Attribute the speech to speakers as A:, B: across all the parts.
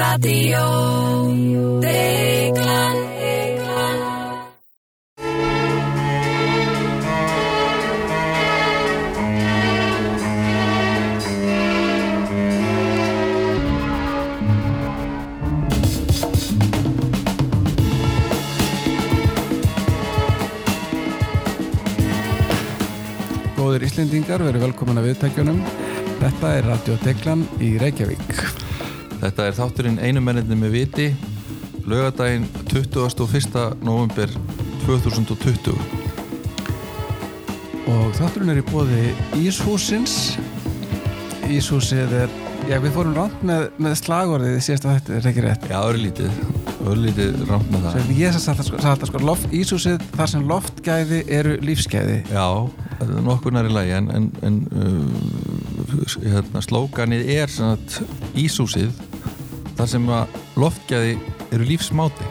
A: Radio Deglan Deglan
B: Góðir Íslendingar, verið velkomin að viðtækjunum. Þetta er Radio Deglan í Reykjavík.
C: Þetta er þátturinn einu mennirni með viti lögadaginn 21. november 2020
B: Og þátturinn er í bóði Íshúsins. Íshúsið er, já við fórum rátt með, með slagorðið í síðasta þetta, er ekki rétt.
C: Já, örlítið, örlítið rámt með það
B: Sem ég sagði alltaf sko, sagði alltaf sko loft, Íshúsið þar sem loftgæði eru lífsgæði.
C: Já, þetta er nokkur nær í lagi en, en, en uh, hérna, slókanið er sem sagt, ísúsið þar sem að loftgæði eru lífsmáti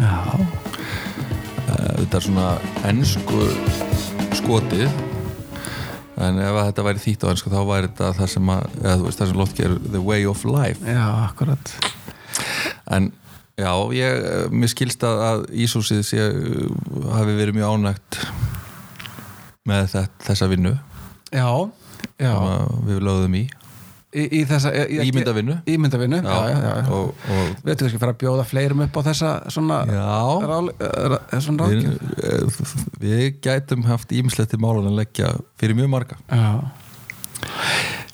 B: Já.
C: Eh, Þetta er svona ennsku skotið en ef að þetta væri þýtt á ennsku þá væri þetta þar sem, að, eða, þú veist, þar sem loftgæði eru the way of life
B: Já, akkurat.
C: en já, ég, mér skilst að, að Ísúsið sé, uh, hafi verið mjög ánægt með þetta, þessa vinnu
B: Já, já.
C: sem að við lögðum í
B: Í, í þessa... Í, í-
C: Ímyndavinnu.
B: Ímyndavinnu, já, já, já. já.
C: og, og
B: Við ættum kannski að fara að bjóða fleirum upp á þessa svona...
C: já
B: Rál, rál, svona
C: við,
B: ráðgjöf.
C: eh, við gætum haft ímislegt til málan að leggja fyrir mjög marga
B: Já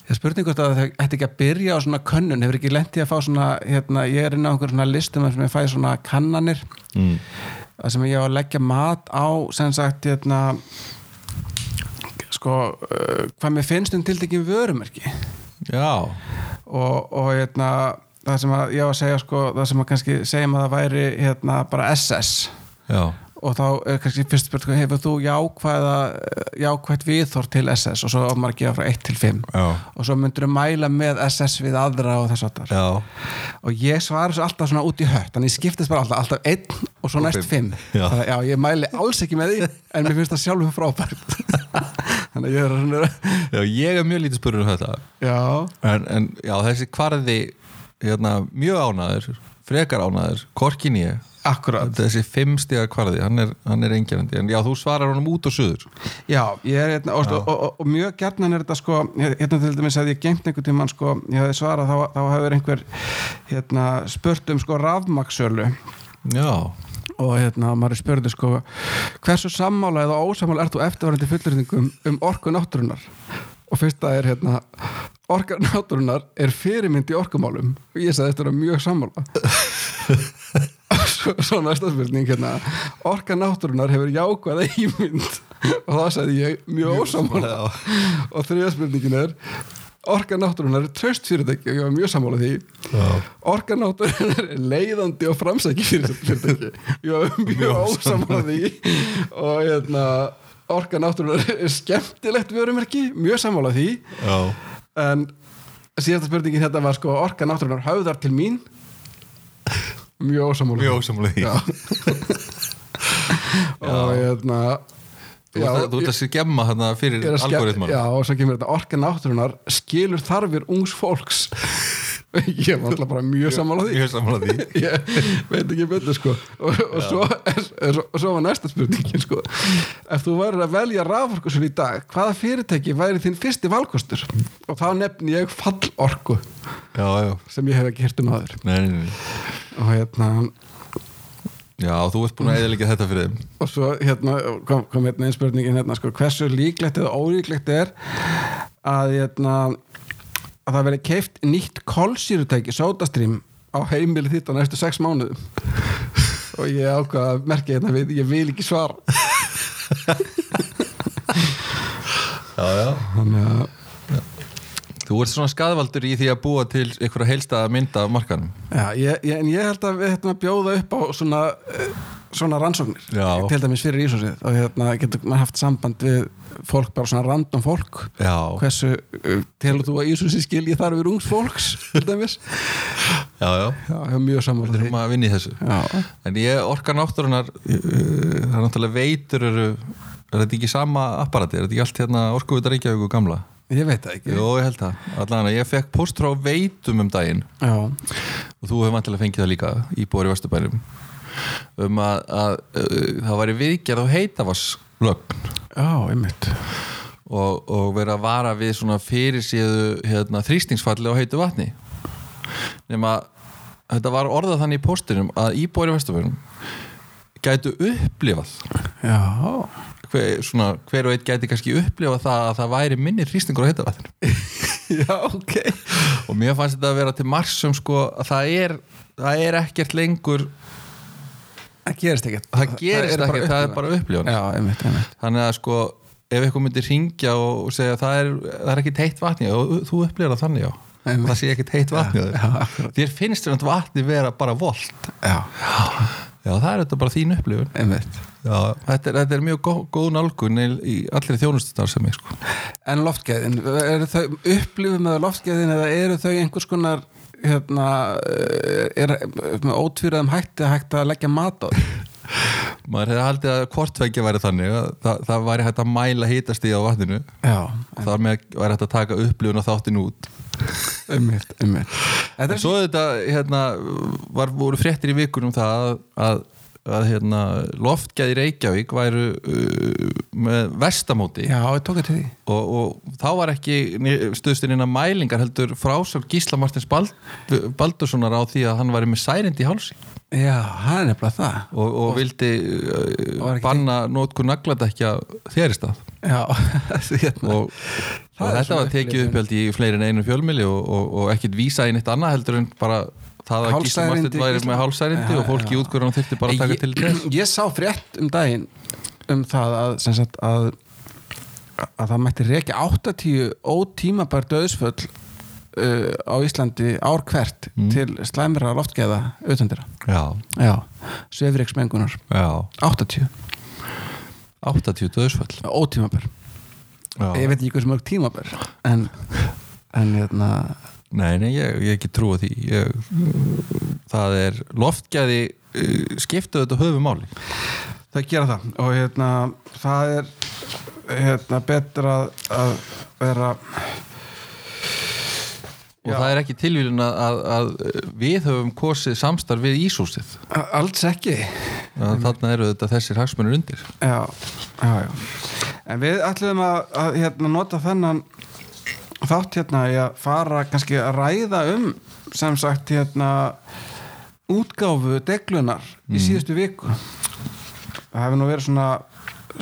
B: Ég spurning hvort að það ætti ekki að byrja á svona könnun, hefur ekki lent í að fá svona hérna, ég er inn á einhver svona listum þar sem ég fæ svona kannanir
C: mm.
B: þar sem ég á að leggja mat á sem sagt hérna sko uh, hvað mér finnst um tiltekin vörumerki
C: já,
B: og, og hérna það sem að ég á að segja sko það sem að kannski segjum að það væri hérna bara SS
C: já
B: og þá er kannski fyrst spurt hefur þú jákvæða, eh, jákvætt viðþór til SS og svo á maður að gefa frá 1 til 5
C: já,
B: og svo myndur við mæla með SS við aðra og þess að
C: já,
B: og ég svara þessu alltaf svona út í hött þannig ég skiptist bara alltaf, alltaf einn og svo næst fimm
C: fimm. Já.
B: þannig að já, ég mæli alls ekki með því en mér finnst það sjálfum frábært þannig að ég er svona
C: já ég er mjög lítið spurður um þetta
B: já,
C: en, en já, þessi kvarði hérna, mjög ánæður frekar ánæður, korkin ég
B: akkurat
C: þessi fimm stiga kvarði, hann er, hann er engjarandi en já, þú svarar honum út og suður
B: já, ég er hérna og, og, og, og mjög gertnan er þetta sko hérna til dæmis að ég geimt einhvern tímann sko ég hefði svarað þá, þá hefur einhver hérna spurt um sko rafmaksölu
C: já,
B: og hérna maður spurði sko hversu sammála eða ósammála ert þú eftirvarandi fullurðingum um orku náttúrunar og fyrsta er hérna orka náttúrunar er fyrirmynd í orkumálum og ég sagði þetta er mjög sammála svo, svo næsta spurning hérna orka náttúrunar hefur jákvæða ímynd og það sagði ég mjög ósammála og þriða spurningin er orka náttúrunar er tröst fyrirtæki og ég var mjög sammála því orka náttúrunar er leiðandi og framsæki fyrirtæki ég var mjög ósammála því og hérna orka náttúrunar er skemmtilegt vörumerki mjög sammála því
C: já,
B: en síðasta spurningin hérna var sko orka náttúrunar höfðar til mín mjög ósammála því.
C: mjög ósamlega því
B: Já. og hérna
C: þú ert að- þú ert að sér gemma hérna fyrir
B: er að skemmt-
C: algoritman
B: Já, og svo kemur þetta orka náttúrunar skilur þarfir ungs fólks ég var alltaf bara mjög sammála því
C: mjög samlega því
B: ég veit ekki betur sko og, og svo, er, er, svo- svo var næsta spurningin sko ef þú værir að velja raforkusul í dag hvaða fyrirtæki væri þinn fyrsti valkostur og þá nefni ég fallorku
C: já, já,
B: sem ég hef ekki hirt um aður
C: nei, nei, nei.
B: og hérna
C: já, þú ert búin að eðalega þetta fyrir þeim
B: og svo hérna kom, kom hérna einn spurningin hérna sko, hversu líklegt eða ólíklegt er að hérna að það veri keift nýtt kolsýrutæki sódastrím á heimili þitt á næstu sex mánuðum og ég ákvað að merka hérna við ég vil ekki svara
C: já, já
B: þannig að
C: Þú ert svona skadvaldur í því að búa til einhverja heilstæða mynda af markanum
B: Já, ég, ég, en ég held að við hérna bjóða upp á svona, eh, svona rannsóknir
C: Já.
B: til dæmis fyrir Ísósið og hérna getur maður haft samband við fólk, bara svona random fólk
C: Já.
B: hversu, eh, telur þú að Ísósið skilji þarfir ungs fólks til dæmis
C: Já, já
B: Já, ég er mjög sammála því
C: Þurfum að vinna í þessu
B: Já,
C: En ég orka náttúrunar uh, það er náttúrulega veitur eru er þetta ekki sama apparati, er þetta ekki allt hérna orkuvita Reykjavík og gamla?
B: ég veit það ekki
C: Jó, ég held það. Allan að ég fekk póst frá veitum um daginn
B: Já,
C: og þú hefur vantilega fengið það líka íbúar í Vesturbænum um að, að uh, það væri viðgerð og heitavarslögn
B: já, einmitt
C: og, og vera að vara við svona fyrir síðu hérna, þrýstingsfalli á heitu vatni nema þetta var orðað þannig í póstinum að íbúar í Vesturbænum gætu upplifað
B: já,
C: hver, svona, hver og einn gæti kannski upplifað það að það væri minni þrýstingur á heita vatninu
B: já ok
C: og mér fannst þetta að vera til marsum sko, að það er, það er ekkert lengur
B: það gerist ekkert
C: það gerist
B: er bara
C: ekkert, það er bara upplifun
B: já, einmitt, einmitt
C: þannig að sko ef eitthvað myndir ringja og segja það er, það er ekki teitt vatni og þú upplifir það þannig já
B: Einmitt.
C: það sé ekki teitt vatni
B: Já,
C: ja, þér finnst þér að vatni vera bara volt
B: já,
C: já það er þetta bara þín upplifun
B: einmitt
C: þetta er, þetta er mjög góð, góð nálgun í í allri þjónustustar sem ég sko
B: En loftgæðin, eru þau upplifum með loftgæðin eða eru þau einhvers konar hérna, eh, er, með ótvíraðum hætti að hægt að leggja mat á þau?
C: maður hefði haldið að hvortveggja væri þannig að það, það væri hægt að mæla hitastíð á vatninu
B: Já,
C: þar með væri hægt að taka upplifun og þáttin út
B: ummitt, ummitt Þetta
C: En
B: er
C: svo þetta hérna, var, voru fréttir í vikunum það að, að, að hérna, loftgæði Reykjavík væru uh, með vestamóti
B: Já, ég tók þetta því
C: og, og þá var ekki stuðstinn innan mælingar heldur frásál Gísla Martins Bald, Baldurssonar á því að hann væri með særind í hálsi
B: Já, það er nefnilega það
C: og, og, vildi
B: var
C: uh,
B: ekki
C: banna nótku nagladekja þéristað
B: Já, þessi hérna
C: og, og
B: Það er
C: þetta
B: svona
C: var tekið upp held í fleiri en einu fjölmili og, og, og ekkit vísa í neitt annað heldur en bara það að Gísli
B: Hálsærindi,
C: Martin væri
B: Gísli-
C: með hálsærindi
B: Já,
C: og fólki í útkvörunum þurfti bara að taka til þess
B: Ég sá frétt um daginn um það að, sem sagt, að, að það mætti rekja 80 ótímabar döðsföll uh, á Íslandi ár hvert
C: Mm.
B: til slæmra loftgeða auðvendira.
C: Já,
B: Já, svefriksmengunar.
C: já
B: 80
C: 80 döðsföll
B: ótímabar. Ég
C: já.
B: veit ekki hversu mörg tímabar en, en hérna,
C: Nei, nei, ég, ég ekki trúa því ég, Það er loftgæði uh, skiptu þetta höfumáli
B: það gera það og hérna, það er hérna, betra að vera
C: og það er ekki tilvílun að, að, að uh, við höfum kosið samstarf við Ísúsið
B: alls ekki
C: Þarna eru þetta þessir hagsmunir undir
B: já, já, já. En við ætlum að, að hérna, nota þennan þátt hérna í að fara kannski að ræða um sem sagt hérna útgáfu deglunar í síðustu viku það hefur nú verið svona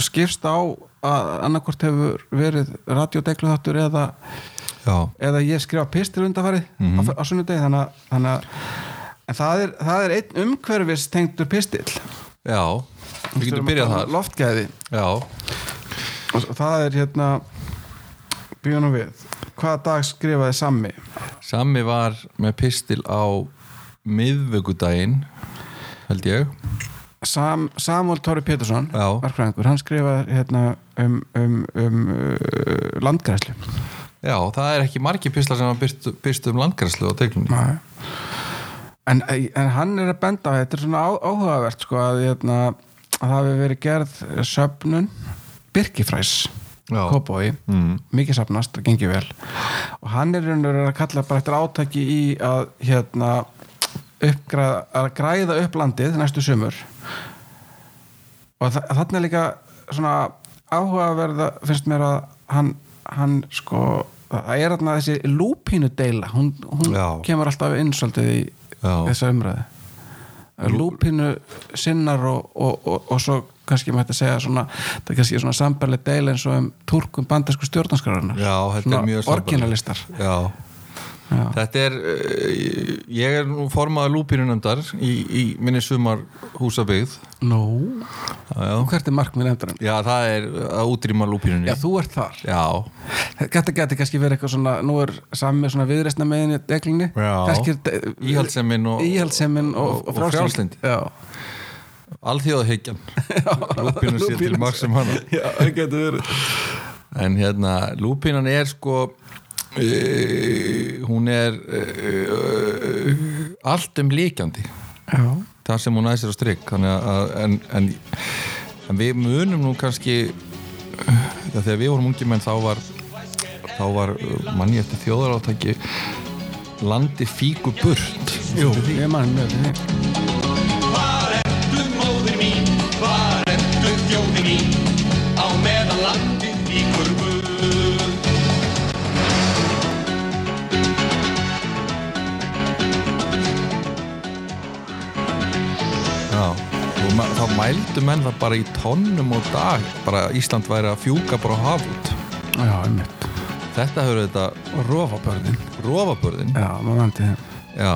B: skipst á að annarkvort hefur verið radiodeglu þáttur eða,
C: Já,
B: eða ég skrifa pistil undanfarið
C: Mhm.
B: á, á sunnudegi þannig, að- þannig að en það er, það er einn umhverfis tengdur pistil
C: já Við getum byrjað
B: um
C: þar
B: loftgæði
C: Já,
B: og það er hérna býðan og við hvaða dag skrifaði Sammi
C: Sammi var með pistil á miðvöggudaginn held ég
B: Sam, Samuel Tóri Pétursson
C: Já.
B: verkfræðingur, hann skrifaði hérna um, um, um uh, landgræslu
C: Já, það er ekki margir pistlar sem var byrst um landgræslu á teglunni
B: en, hérna. en hann er að benda á þetta er svona á, áhugavert sko að, hérna, að það hafi verið gerð söfnun Birkifræs
C: Já.
B: Kópói,
C: Mm.
B: mikið safnast og gengið vel og hann er raunur að kalla bara eftir átaki í að hérna uppgræða, að græða upp landið næstu sumur og þa þannig er líka svona áhugaverða finnst mér að hann, hann sko það er þarna þessi lúpínu deila hún, hún
C: Já.
B: kemur alltaf inn svolítið í
C: Já.
B: þessa umræði lúpínu sinnar og, og, og, og svo kannski maður þetta segja svona, það er kannski svona sambarlega deil eins og um túrkum bandasku stjórnarskarunar
C: Já, þetta er mjög sambærilegt.
B: orginalistar
C: Já,
B: Já.
C: þetta er eh, ég er nú formaður lúpínunöndar í, í minni sumar húsabyggð
B: Nú,
C: Já, já.
B: hvert er markmið nefndarinn?
C: Já, það er að útrýma lúpínunni
B: Já, þú ert þar
C: Já,
B: Þetta geti kannski verið eitthvað svona, nú er sami svona viðreistna meðinni deglinni
C: Já. Íhaldssemin og-
B: Íhaldsemin og,
C: og- og frjálslyndi.
B: Já,
C: alþjóðahyggjan Lúpínun sér til maksum hana
B: Já, það getur verið
C: En hérna, lúpínan er sko uh, hún er uh, allt um líkjandi
B: Já,
C: það sem hún æsir á strikk þannig að- að, en, en, en við munum nú kannski ja, þegar við vorum ungi menn þá var uh, þá var eh, mann ég eftir þjóðarátæki landi fíku burt
B: Jú,
C: eftir því
B: ég mann með því
A: Hvar ertu móðir mín? Hvar ertu þjóðir mín? Á meðan landið líkur guð
C: Já, og ma- þá mældu menn það bara í tónnum og dag bara að Ísland væri að fjúka bara á haf út
B: Já, einmitt
C: Þetta höfðu þetta
B: Og rofa börnin
C: rofabörðin
B: Já, maður vandi þeim
C: Já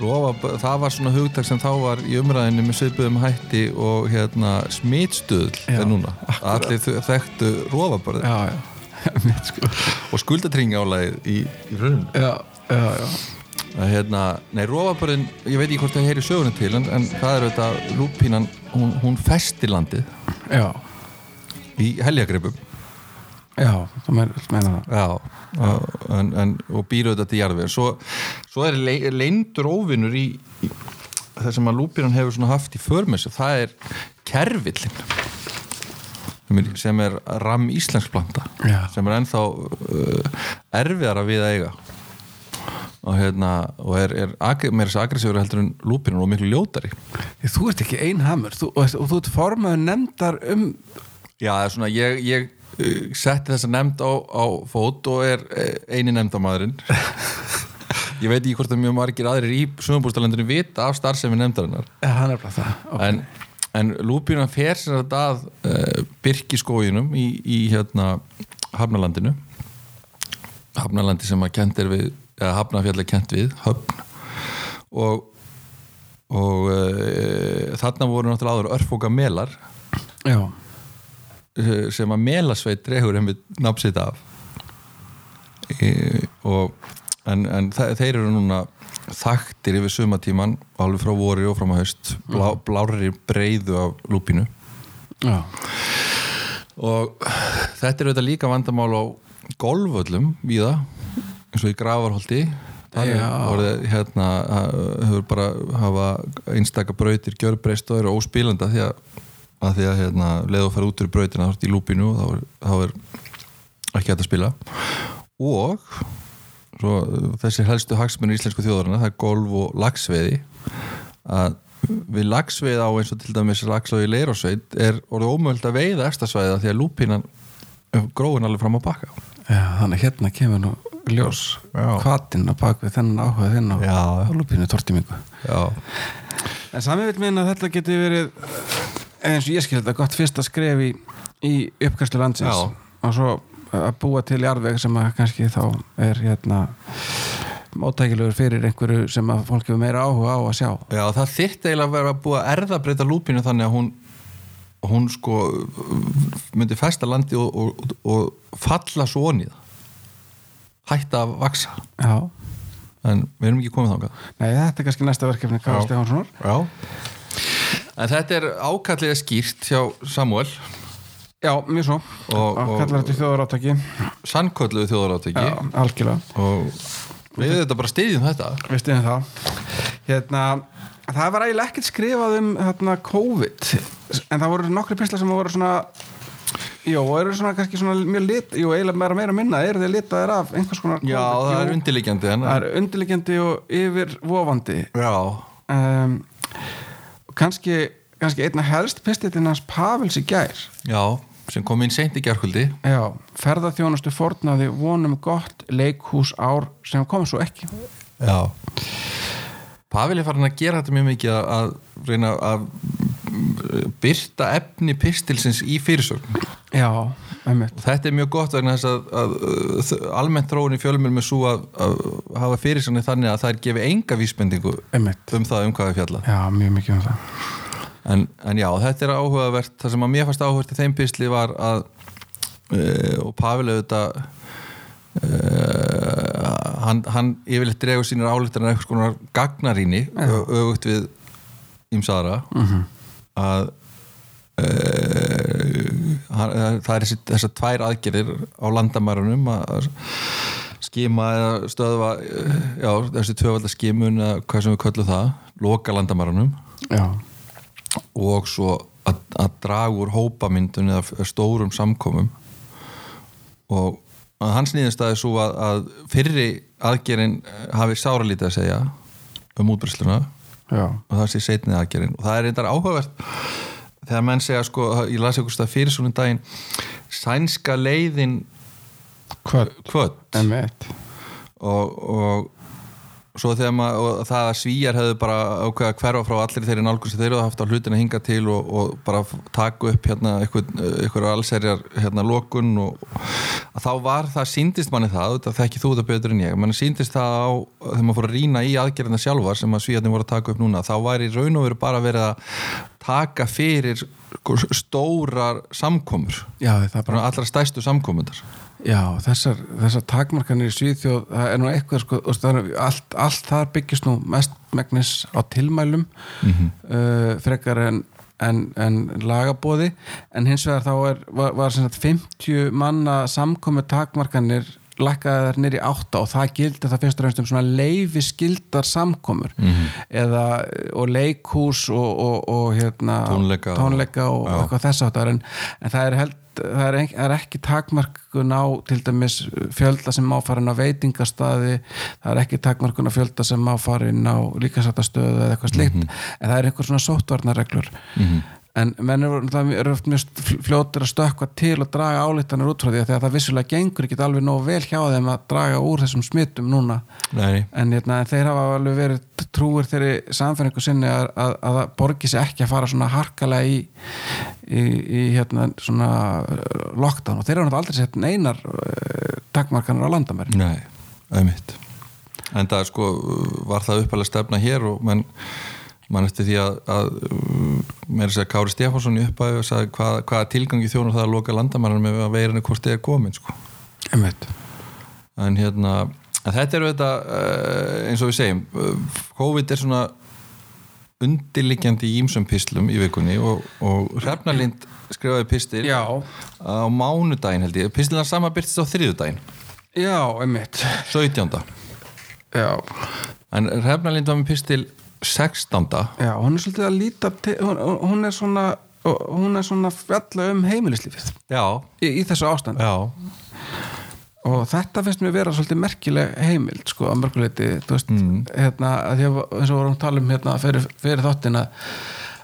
C: Rofa, það var svona hugtak sem þá var í umræðinu með svipuðum hætti og hérna smitstuðl
B: Já,
C: er núna allir þau- þekktu rofabörðin
B: Já, já Einmitt, sko
C: og skuldatringálaðið í, í frunum
B: Já, já, já
C: að hérna, nei, rofabörðin ég veit ekki hvort það heyri sögurinn til en, en það er auðvitað lúpínan, hún, hún festi landið
B: Já,
C: í heljagripum
B: já, þú men- meina það
C: já, og- en, en, og býr auðvitað til jarðveg svo, svo er le, leindur óvinnur í, í það sem að lúpínan hefur svona haft í förmessu, það er kervillin sem er- sem er ram íslensk planta
B: Já.
C: sem er ennþá uh, erfiðara við að eiga og hérna og er, er agri- meira þess agressífur heldur en lúpínan og miklu ljótari
B: Ég, Þú ert ekki einhamur þú, og, og þú ert formaður nefndar um
C: Já, það er svona, ég, ég uh, setti þessa nefnd á, á fót og er eh, eini nefndamæðurinn Ég veit ekki hvort að mjög margir aðrir í sumumbústalendurinn vita af starfsemi nefndarinnar
B: Já, það er nefnilega það okay.
C: en, en lúpínan fer sem þetta að uh, Birkiskóginum í, í hérna Hafnalandinu Hafnalandi sem að kent er við eða Hafnafjall er kent við Höfn og og uh, þarna voru náttúrulega áður örfóka melar
B: Já,
C: eh, sem að melasveit dregur einmitt nafnsitt af e, og en, en þe- þeir eru núna þaktir yfir sumatíman alveg frá vori og fram að haust blá, blárri breiðu af lúpinu
B: já,
C: og þetta er auðvitað líka vandamál á golföllum víða, eins og í gravarholti það er
B: Já.
C: orðið hérna ha- hefur bara hafa einstaka brautir gjörbreyst og eru óspílanda því að, að því að hérna, leðu að fara út úr brautina þá ertu í lúpinu og þá er, þá er ekki hægt að spila og svo, þessi helstu hagsmunir íslensku þjóðarina það er golf og lagsveiði að við lagsveið á eins og til dæmis lagsveið í leirosveit er orðið ómöld að veiða efstasvæða því að lúpínan eh, gróin alveg fram á bakka
B: já Þannig að hérna kemur nú ljós
C: Já.
B: hvatinn á bak við þennan áhuga þinn og
C: Já.
B: lúpínu tortimingu
C: já,
B: En sami vil minna að þetta geti verið eins og ég skil þetta gott fyrsta skref í, í uppkastlu landsins
C: Já.
B: og svo að búa til jarðveg sem að kannski þá er hérna móttækilegur fyrir einhverju sem að fólk hefur meira áhuga á að sjá
C: já það þyrfti eiginlega að vera að búa að erðabreita lúpínu þannig að hún hún sko myndi festa landi og, og, og falla svo onnið hætta að vaksa
B: Já,
C: en við erum ekki komið þangað
B: Nei, þetta er kannski næsta verkefni Karl
C: Já.
B: Stefánssonar
C: já en þetta er ákallega skýrt hjá Samuel
B: Já, mjög svo
C: Og-
B: og, og
C: og-
B: kallar þetta þjóðarátaki
C: sannkölluðu þjóðaráttöki
B: Já, algjörlega
C: og við þetta bara styðjum þetta
B: Við stiðum um það Hérna, það var eiginlega ekkert skrifað um hérna, COVID en það voru nokkri pislar sem voru svona Jó, og eru svona kannski svona mjög lit Jú, eiginlega meira meira minna, eru þið litaðir af einhvers konar
C: Já,
B: COVID?
C: það
B: Jú,
C: er undirliggjandi en...
B: það er undirliggjandi og yfirvofandi
C: Já,
B: um, kannski, kannski einna helst pistillinn hans Pavils í gær
C: já, sem kom inn seint í gerkvöldi
B: Já, ferðaþjónustu fornaði vonum gott leikhús ár sem kom svo ekki
C: Já Pavil er farin að gera þetta mjög mikið að- að reyna að mm, birta efni pistilsins í fyrirsögn
B: Já, einmitt
C: og þetta er mjög gott vegna þess að, að, að almennt þróun í fjölmjölum er svo að, að hafa fyrirsögni þannig að þær gefi enga vísbendingu
B: Einmitt,
C: um það um hvað við fjalla
B: já, mjög mikið um það
C: en, en já, þetta er áhugavert það sem að mér fannst áhugavert í þeim písli var að uh, og Pavel auðvitað uh, hann, hann yfirleitt dregur sínir álíktarnar einhvers konar gagnaríni ö- öfugt við Ímsara að uh, hann, það er þessi, þessar tvær aðgerðir á landamærunum að skima eða stöðva eh, já, þessi tvöfalda skimun eða hvað sem við köllum það, loka landamærunum
B: Já,
C: og svo að, að draga úr hópamyndun eða stórum samkomum og að hans nýðinstæði svo að, að fyrri aðgerin hafi eh, sáralítið að segja um útbreysluna
B: já,
C: og það sé setnið aðgerinn og það er reyndar áhugavert þegar menn segja sko, ég lasi ykkur stað fyrir svona daginn sænska leiðin
B: hvað
C: kvöld
B: M1
C: og, og svo þegar maður og það að svíjar hefðu bara ákveða að hverfa frá allir þeirri nálgur sem þeir eru haft á hlutina hinga til og, og bara f- taka upp hérna ykkur allserjar hérna lokun og að þá var það síndist manni það, þetta þekki þú þetta betur en ég manni síndist það á, þegar maður fór að rýna í aðgerðina sjálfar sem að svíjarnir voru að taka upp núna þá væri í raun og veru bara verið að taka fyrir sko stórar samkomur
B: já, það er
C: bara
B: bara,
C: allra stærstu samkomundar
B: já, þessar, þessar takmarkanir í Svíþjóð, það er nú eitthvað sko, og það er, allt, allt þar byggist nú mestmegnis á tilmælum
C: Mhm.
B: uh, frekar en en, en lagabóði en hins vegar þá er, var, var sem sagt 50 manna samkomi takmarkanir lækkaðar nýri átta og það gildi það fyrst og reynst um svona leifiskyldar samkomur
C: Mhm.
B: eða, og leikhús og, og, og hérna,
C: Tónleika og-
B: tónleika og,
C: Já.
B: og eitthvað þess aftar en, en það er held það er, ekki, er ekki takmarkun á til dæmis fjölda sem má fara inn á veitingastaði, það er ekki takmarkun á fjölda sem má fara inn á líkasættastöðu eða eitthvað slikt, en það er einhver svona sóttvarnarreglur en menn eru það eru oft mjög fljótur að stökkva til og draga álítanir út frá því af því að það vissulega gengur ekki alveg nóg vel hjá þeim að draga úr þessum smittum núna
C: Nei,
B: en hérna, þeir hafa alveg verið trúir þeirri samfæringu sinni að, að, að það borgi sig ekki að fara svona harkalega í, í, í hérna, svona eh, lockdown og þeir hafa náttúrulega aldrei sett neinar uh, takmarkanur á landamæri
C: Nei, auðvitað En það sko var það uppalega stefna hér og menn mann eftir því að, að mér er að segja Kári Stefánsson í uppæðu sagði hvað, hvaða tilgangi þjónur það að loka landamæranum með að veirinu hvort þið er komin sko.
B: Einmitt.
C: en hérna en þetta er þetta eins og við segjum eh, COVID er svona undirliggjandi í ímsum pislum í vikunni og, og Hrefnalind skrifaði pistil
B: Já,
C: á mánudaginn held ég pistilna sama byrtist á þriðudaginn
B: já, einmitt
C: 17.
B: Já,
C: En Hrefnalind var með pistil 16.
B: já hún er svolítið að líta til, hún, hún er svona hún er svona fjalla um heimilislífið
C: Já,
B: í, í þessu ástand
C: já,
B: og þetta finnst mér vera svolítið merkileg heimild sko að mörguleiti þú veist, hérna, að því að eins og vorum að tala um hérna fyrir, fyrir þáttin að,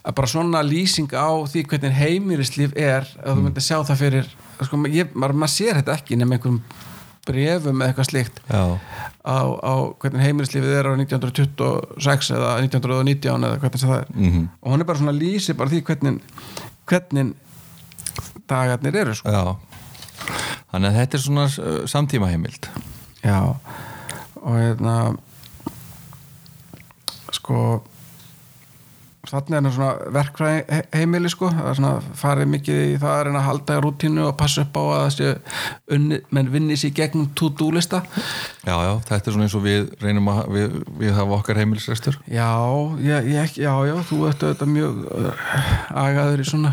B: að bara svona lýsing á því hvernig heimilislíf er að þú myndir sjá það fyrir sko, ma- ég, maður, maður sér þetta ekki nema einhverjum brefum eða eitthvað slíkt
C: já,
B: á, á hvernig heimilislífið er á 1926 eða 1919 eða hvernig sem það er
C: Mhm.
B: og hún er bara svona lýsi bara því hvernig, hvernig dagarnir eru sko
C: já. Þannig að þetta er svona uh, samtíma heimild.
B: Já og hérna sko þannig er nú svona verkfræði heimili sko, það er svona farið mikið í það að reyna að halda rútínu og passa upp á að það sé unni, menn vinni sér gegnum to-do-lista
C: Já, já, þetta er svona eins og við reynum að, við, við hafa okkar heimilisrestur.
B: Já, ég, ég, já, já, þú ert auðvitað mjög uh, agaður í svona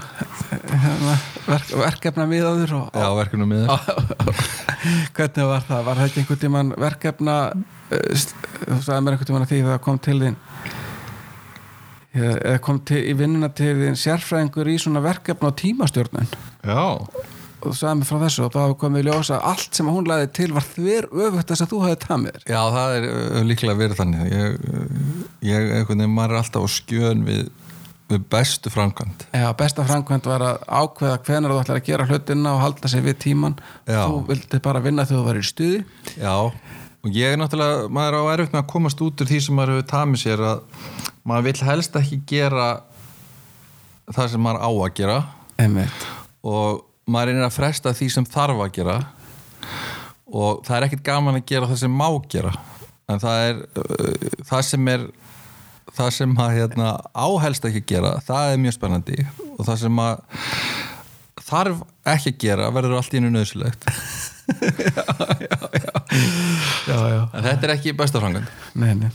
B: hérna, verk, verkefna miðaður og,
C: Já, verkunum með þér.
B: hvernig var það? Var það ekki einhvern tímann verkefna eh, st- þú sagði mér einhvern tímann að því það kom til þín eh, eða kom til, í vinnuna til þín sérfræðingur í svona verkefna og tímastjórnun
C: Já,
B: og þú sagði mér frá þessu og þá kom við ljósa að allt sem hún laði til var þver öfugt þess að þú hafði tað með þér
C: já, það er uh, líklega verið þannig. Ég, uh, ég, einhvern veginn, maður er alltaf á skjön við, við bestu framkvæmt.
B: Já, besta framkvæmt var að ákveða hvenar þú ætlar að gera hlutina og halda sig við tíman
C: Já.
B: þú vildi bara vinna þegar þú var í stuði
C: Já, og ég er náttúrulega, maður er á erfitt með að komast út úr því sem maður hefur tamið sér að maður vill helst ekki gera það sem maður á að gera
B: Einmitt.
C: og maður reynir að fresta því sem þarf að gera og það er ekkert gaman að gera það sem má gera en það er uh, það sem er það sem maður hérna, áhelst ekki að gera það er mjög spennandi og það sem maður þarf ekki að gera verður allt í einu nöðsilegt
B: Já, já
C: en þetta er ekki besta frangand
B: Nei, nei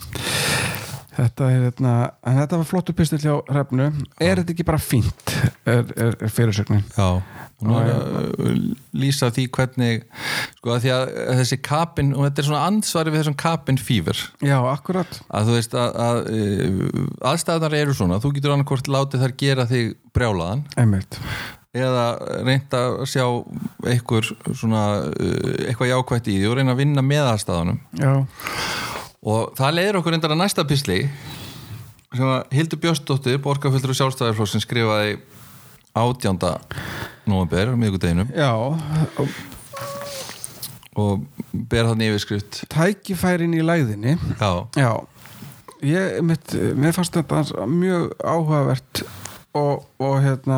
B: Þetta er hérna, en þetta var flottu pistill hjá hrefnu, er þetta ekki bara fínt er, er, er fyrirsögnin
C: Já, og nú er að lýsa því hvernig sko að því að þessi kapin og þetta er svona ansvari við þessum kapin fýver
B: Já, akkurat
C: að þú veist að, að aðstæðanar eru svona, þú getur annarkvort látið þar gera þig brjálaðan
B: Einmitt,
C: eða reynt að sjá e, einhver svona eh, eitthvað jákvætt í því og reyna að vinna með aðstæðanum
B: já,
C: og það leiðir okkur endara næsta písli sem að Hildur Björnsdóttir borgarfjöldur og sjálfstæðarflóksin skrifaði 18. november miðgudeginum
B: Já,
C: og ber þannig yfirskrift
B: tækifærin í læðinni
C: Já,
B: Já Ég, mitt, mér fannst þetta mjög áhugavert og, og hérna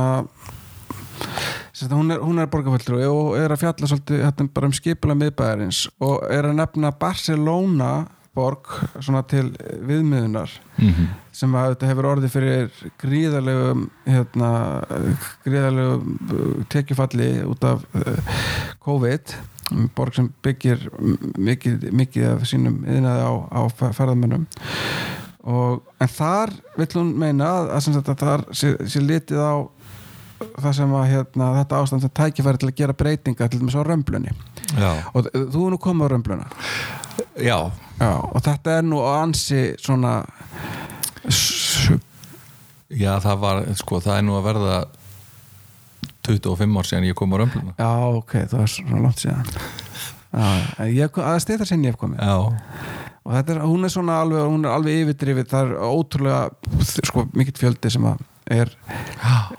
B: sem sagt, hún er, hún er borgarfællur og er að fjalla svolítið hérna, bara um skipula miðbæðarins og er að nefna Barcelona borg svona til viðmiðunar sem að þetta hefur orðið fyrir gríðarlegum hérna, gríðarlegum uh, tekjufalli út af uh, COVID um, borg sem byggir m- mikið, mikið af sínum yðnaði á, á fer- ferðamönnum og, en þar vill hún meina að, að sem sagt að þar sé, sé litið á það sem að hérna, þetta ástand sem tækifæri til að gera breytinga til dæmis á römblunni
C: já,
B: og þ- þú er nú komið á römbluna
C: já
B: Já, og þetta er nú ansi svona s-
C: Já, það var, sko, það er nú að verða 25 ár síðan ég kom á römbluna
B: Já, ok, það var svona langt síðan Já, en ég, að steyta sinni ég hef komið
C: Já,
B: og þetta er, hún er svona alveg, hún er alveg yfirdrifið það er ótrúlega sko, mikill fjöldi sem að er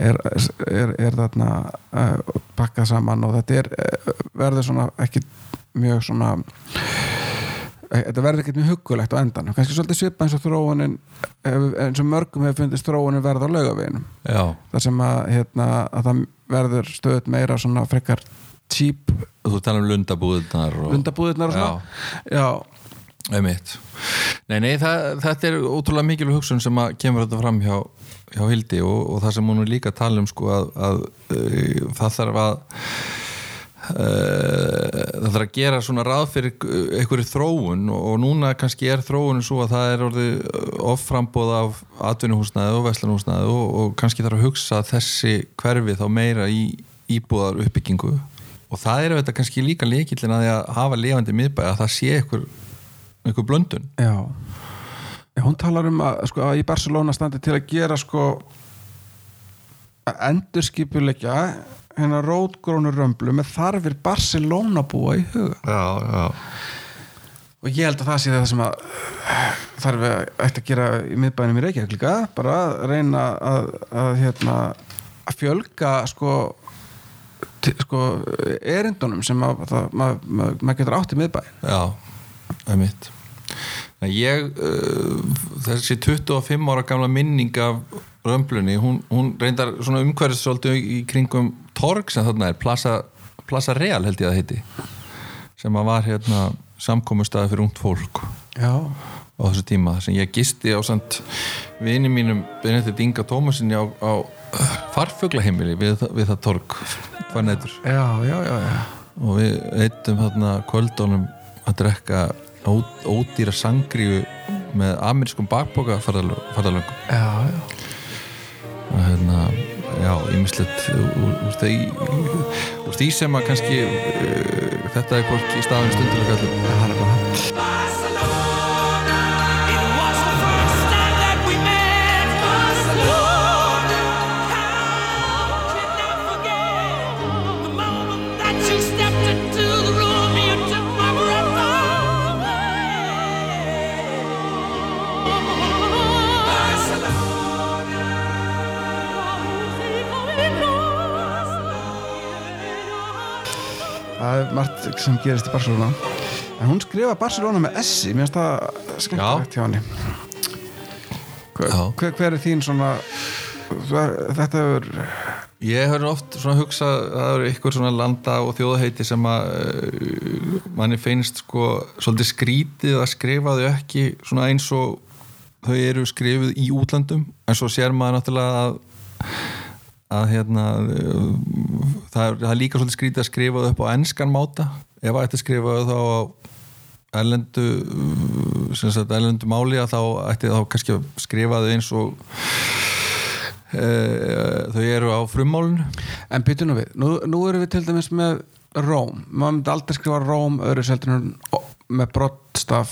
B: er, er, er þarna uh, pakkað saman og þetta er uh, verður svona ekki mjög svona eh, þetta verður ekkert mjög huggulegt á endan kannski svolítið svipa eins og þróunin hefur- eins og mörgum hefur fundist þróunin verða á laugaveginum
C: já,
B: þar sem að, hérna, að það verður stöðut meira svona frekar típ
C: þú talar um lundabúðnar og...
B: undabúðirnar og svona já,
C: Einmitt. Nei, nei, það, þetta er ótrúlega mikilvæg hugsun sem að kemur þetta fram hjá, hjá Hildi og, og það sem hún er líka að tala um sko að, að uh, það þarf að uh, Eh, það þarf að gera svona ráð fyrir uh, einhverju þróun og, og núna kannski er þróunin svo að það er orðið offrambóð af atvinnuhúsnaði og veslanhúsnaði og, og kannski þarf að hugsa þessi hverfi þá meira í íbúðar uppbyggingu og það er þetta kannski líka leikillin að því að hafa lifandi miðbæ að það sé einhver einhver blöndun
B: já Já, hún talar um að, sko, að í Barcelona standi til að gera sko að endurskipulegja hérna rótgrónu römblu með þarfir Barcelona búa í huga
C: já, já.
B: og ég held að það sé það sem að eh, þarf að ætti að gera í miðbænum í Reykjavík líka bara að reyna að, að, hérna, að fjölga sko, til, sko erindunum sem að, það, mað, mað, maður getur átt í miðbæn
C: já, það er mitt Nei, ég uh, þessi 25 ára gamla minning af römblunni, hún, hún reyndar svona umhverfis svolítið í kringum torg sem þarna er, Plaza, Plaza Real held ég að það heiti sem að var hérna samkomustaði fyrir ungt fólk
B: já,
C: á þessu tíma þar sem ég gisti á samt vini mínum Benedikt Inga Tómasinni á, á farfuglaheimili við, það- við það torg hvað nættur
B: já, já, já, já.
C: og við eittum þarna kvöldónum að drekka ó, ódýra sangriðu með amerískum bakboka farðalöngum
B: Já,
C: og hérna, já, ímislegt úr, úr, því, úr því sem að kannski uh, þetta er hvorki staðan stundulega kallum
B: það er bara
D: Barcelona. It was the first time that we met. Barcelona. How can I forget the moment that you stepped into the room? You took my breath away. Barcelona.
B: það er margt sem gerist í Barcelona en hún skrifa Barcelona með S-i mér finnst það skemmtilegt hjá henni hver,
C: Já.
B: hver, hver er þín svona hver- þetta er
C: Ég hef oft svona hugsa að það eru ykkur svona landa og þjóðaheiti sem að uh, manni finnst sko svolítið skrítið að skrifa þau ekki svona eins og þau eru skrifuð í útlandum en svo sér maður náttúrulega að að hérna uh, það er, það er líka svolítið skrítið að skrifa þau upp á enskan máta ef að þetta skrifa þau þá á erlendu uh, sem sagt erlendu máli að þá ætti þá kannski að skrifa þau eins og uh, þau eru á frummálinu
B: en byttu nú við, nú, nú erum við til dæmis með Róm, maður myndi aldrei skrifa Róm öðru seldur en ó- með brottstaf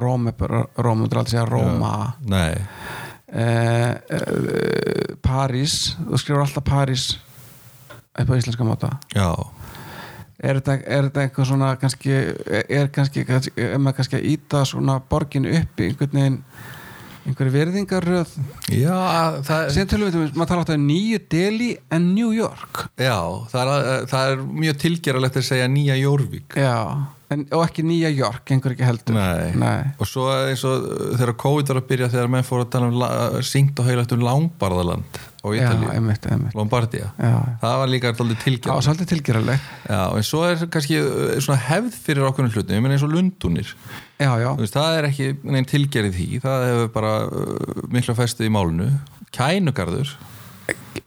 B: Róm er bara Róm, maður myndi aldrei segja Róma
C: Nei,
B: eh, eh, París, þú skrifur alltaf París upp á íslenska máta
C: já
B: er þetta, er þetta einhver svona kannski, er kannski, kannski er maður kannski að íta svona borgin upp í einhvern veginn einhverju verðingaröð
C: Já, það er
B: sem tölvöldum, maður tala átt að nýju Delhi en New York
C: Já, það er, að- það er mjög tilgeralegt að segja nýja Jórvík
B: já, en, og ekki nýja York einhver ekki heldur
C: Nei. Og svo eins og uh, þegar COVID var að byrja þegar menn fóru að tala um la- syngt og heilagt um Langbarðaland á
B: já,
C: Ítalíu,
B: einmitt, einmitt
C: Lombardia
B: já,
C: Það var líka alltaf
B: já,
C: tilgeralegt
B: svolítið tilgerðarleg
C: Já, en svo er kannski uh, svona hefð fyrir okkur hlutum, ég meina eins og lundunir
B: já, já,
C: Þú veist, það er ekki neinn tilgerið því það hefur bara uh, mikla festu í málunu Kænugarður,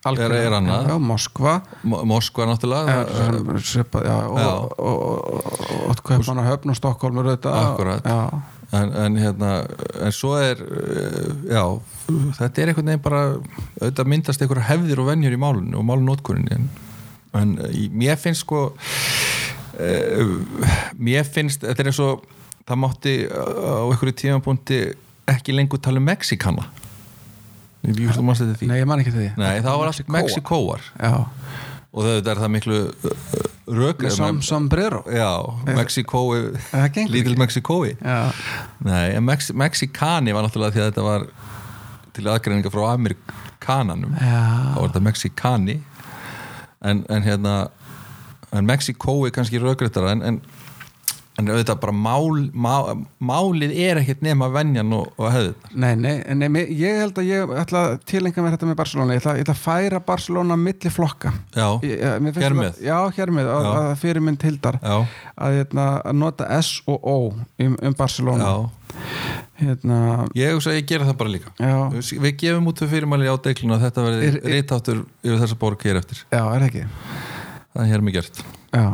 B: algjörlega.
C: er annað.
B: já, Moskva
C: Mo- Moskva náttúrulega
B: Já,
C: það-
B: svona svipað, já, og,
C: Já.
B: og, og, og, og, og Kaupmann og Höfn og Stokkólm eru þetta
C: Akkúrat.
B: já,
C: en, en hérna en svo er uh, já, þetta er einhvern veginn bara auðvitað myndast einhverja hefðir og venjur í málinu og málunótkurinni en, en í- mér finnst sko uh, mér finnst þetta er eins og það mátti uh, á einhverju tímapunkti ekki lengur tala um Mexikana ég veist þú mannst þetta því
B: nei, ég man ekki eftir því
C: Nei, það var allt Mexikóar
B: já,
C: og það er það miklu eh, rök eh,
B: með sam, sombrero
C: Já, Mexikói
B: það gengur ekki.
C: Lítil Mexikói
B: já,
C: Nei, en Mex Mexikani var náttúrulega því að þetta var til aðgreininga frá Amerikananum
B: Já.
C: þá var þetta Mexikani en, en hérna en Mexikói kannski rökréttara en, en, en auðvitað bara mál, má, málið er ekkert nema venjan og, og hefðið
B: nei, nei, nei mér- ég held að ég ætla að tilengja mér þetta með Barcelona ég ætla, ég ætla að færa Barcelona milli flokka
C: Já,
B: Ég- ég- mér finnst
C: hér
B: það-
C: með.
B: já, hér með, að,
C: Já.
B: að fyrirmynd hildar
C: Já.
B: að, hérna, að nota S og O um, um Barcelona
C: Já,
B: hérna,
C: ég hugsa að ég gera það bara líka
B: Já.
C: Við gefum út þau fyrirmæli á deikluna að þetta verði
B: Er- er-
C: rítáttur yfir þessa borg hér eftir
B: já, er það ekki
C: Það er hér með gert
B: Já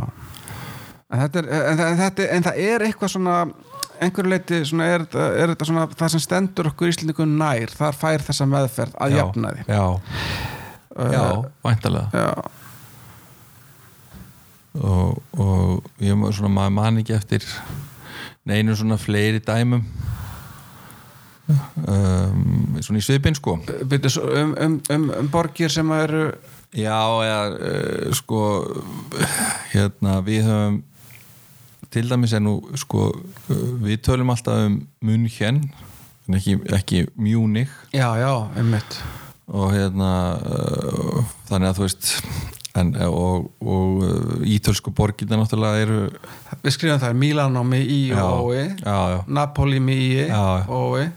B: En þetta er, en, það- en þetta, en það er eitthvað svona einhverju leiti svona er, þetta- er þetta svona það sem stendur okkur íslendingum nær þar fær þessa meðferð að
C: Já.
B: jafnaði
C: Já, já
B: Uh,
C: væntalega
B: já,
C: og, og ég maður svona maður man ekki eftir neinu svona fleiri dæmum um, svona í svipin sko
B: Byrju, svo um, um, um, um borgir sem eru
C: já eða uh, sko hérna við höfum til dæmis er nú sko uh, við tölum alltaf um München en ekki, ekki Munich
B: já, já, einmitt
C: og hérna uh, þannig að þú veist en, og, og uh, ítölsku borgirna náttúrulega eru
B: Við skrifum það Milano með í
C: Já,
B: og ói
C: já, já.
B: Napoli með í
C: Já, já.
B: og ói
C: já,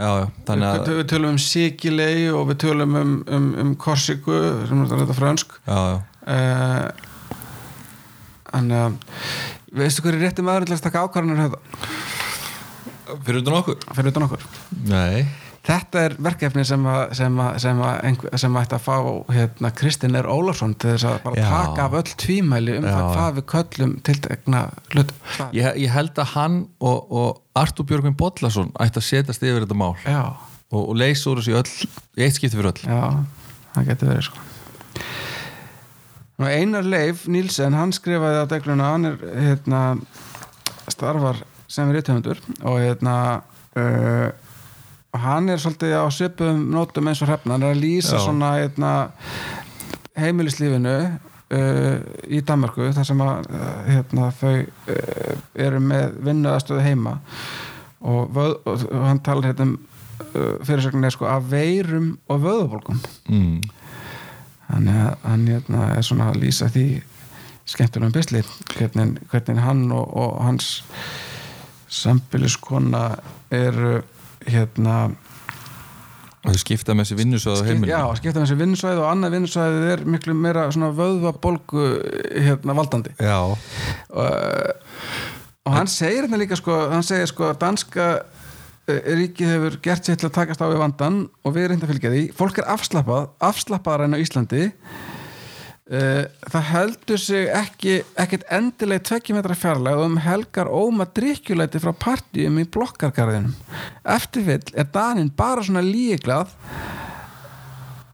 C: já,
B: við,
C: þannig að
B: við tölum um Sikilei og við tölum um, um, um Korsiku sem er þetta frönsk
C: já, já
B: Eh, Þannig að veistu hverju rétti maður til að taka ákvarðanir hérna
C: Fyrir utan okkur?
B: fyrir utan okkur
C: Nei
B: Þetta er verkefni sem að sem, að, sem, að einhver, sem ætti að fá hérna, Kristinn R. Ólafsson til þess að bara
C: Já.
B: taka af öll tvímæli um
C: Já,
B: það
C: já.
B: hvað við köllum tiltegna hlut
C: ég, ég held að hann og, og Artur Björgvin Bollason ætti að setjast yfir þetta mál
B: Já,
C: og, og leysa úr þessu í öll, í eitt skipti fyrir öll
B: já, það getur verið sko Nú, Einar Leif Nílsen, hann skrifaði á degluna, hann er hérna, starfar sem rithöfundur og hérna uh, hann er svolítið á svipum nótum eins og hrefna, hann er að lýsa
C: Já.
B: svona hérna, heimilislífinu uh, í Danmarku þar sem að uh, hérna, þau uh, eru með vinnuðastöðu heima og, vöð, og, og hann talar hérna um uh, fyrirsögninni sko af veirum og vöðubólgum
C: mm.
B: hann, er- hann hérna, er svona að lýsa því skemmtunum bisli hvernig, hvernig hann og, og hans sambiliskona eru hérna
C: og þau skipta með þessi vinnusöðu
B: skip-
C: heimil
B: já, skipta með þessi vinnusvæði og annað vinnusvæði er miklu meira svona vöðvabólgu hérna valdandi
C: já,
B: og hann segir þetta líka sko, hann segir sko að danska eh, ríkið hefur gert sér til að takast á við vandan og við reynda að fylgja því fólk er afslappað, afslappaðar enn á Íslandi Eh, það heldur sig ekki ekkert endileg tvekkjumetra fjarlæg og um helgar óma drikkjulæti frá partíum í blokkargarðinum eftirfyll er Danin bara svona líklað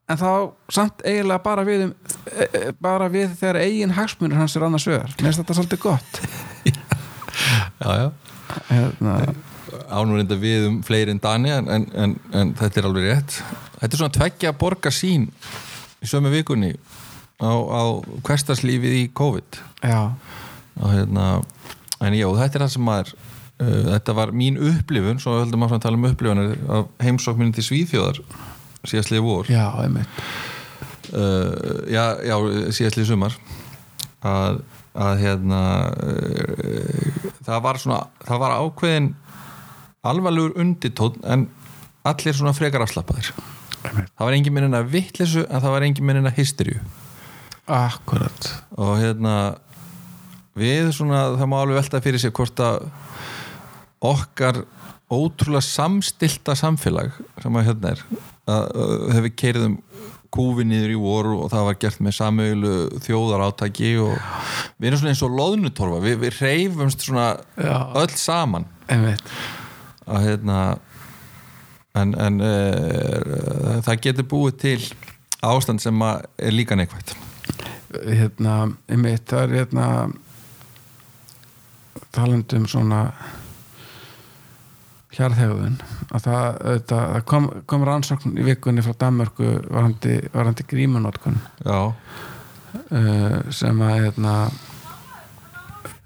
B: en þá samt eiginlega bara við um, e, e, bara við þegar eigin hagsmunir hans er annars vegar, mér finnst þetta svolítið gott
C: já, já
B: hérna,
C: ánur enda við um fleiri en Dani en, en, en, en þetta er alveg rétt þetta er svona tveggja borga sín í sömu vikunni á, á hverstaslífið í COVID
B: já,
C: og hérna en já, þetta er það sem maður uh, þetta var mín upplifun, svo höldum maður að tala um upplifunir af heimsókminni til Svíþjóðar síðastlið vor
B: já, einmitt
C: uh, já, já síðastlið sumar að, að hérna uh, það var svona það var ákveðin alvarlegur undirtón en allir svona frekar afslappaðir það var engin minnina vittlisu en það var engin minnina hysteríu
B: akkurat,
C: og hérna við svona, það má alveg velta fyrir sér hvort að okkar ótrúlega samstilta samfélag sem að hérna er að, að hefur keirið um kúfi niður í voru og það var gert með samöglu þjóðarátaki og við erum svona eins og loðnutorfa, við, við reyfumst svona
B: Já.
C: öll saman
B: einmitt
C: að hérna en, en uh, það getur búið til ástand sem að er líka neikvægt
B: hérna, einmitt, það er hérna talandi um svona hjarðhegðun að það, þetta, það kom, kom rannsókn í vikunni frá Danmörku varandi, varandi grímunótkun
C: Já,
B: uh, sem að hérna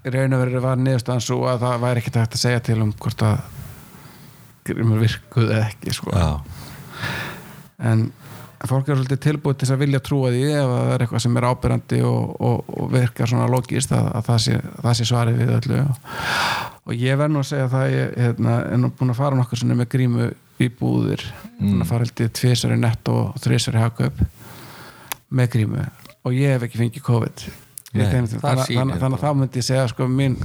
B: í raun og verið var niðurstaðan svo að það væri ekkert hægt að segja til um hvort að grímur virkuð eða ekki sko.
C: já,
B: en fólk er svolítið tilbúið til þess að vilja trúa því ef að það er eitthvað sem er ábyrjandi og, og, og virkar svona logist að, að það, sé, það sé svarið við öllu og, og ég verð nú að segja það að ég hérna, er nú búin að fara nokkur sinni með grímu í búðir mm. að fara heldur tvisar í netto og þrisar í hagkaup með grímu og ég hef ekki fengið COVID Ég
C: Nei,
B: þeim-
C: það
B: þannig
C: sýnir
B: þannig- þannig að þá myndi ég segja sko mín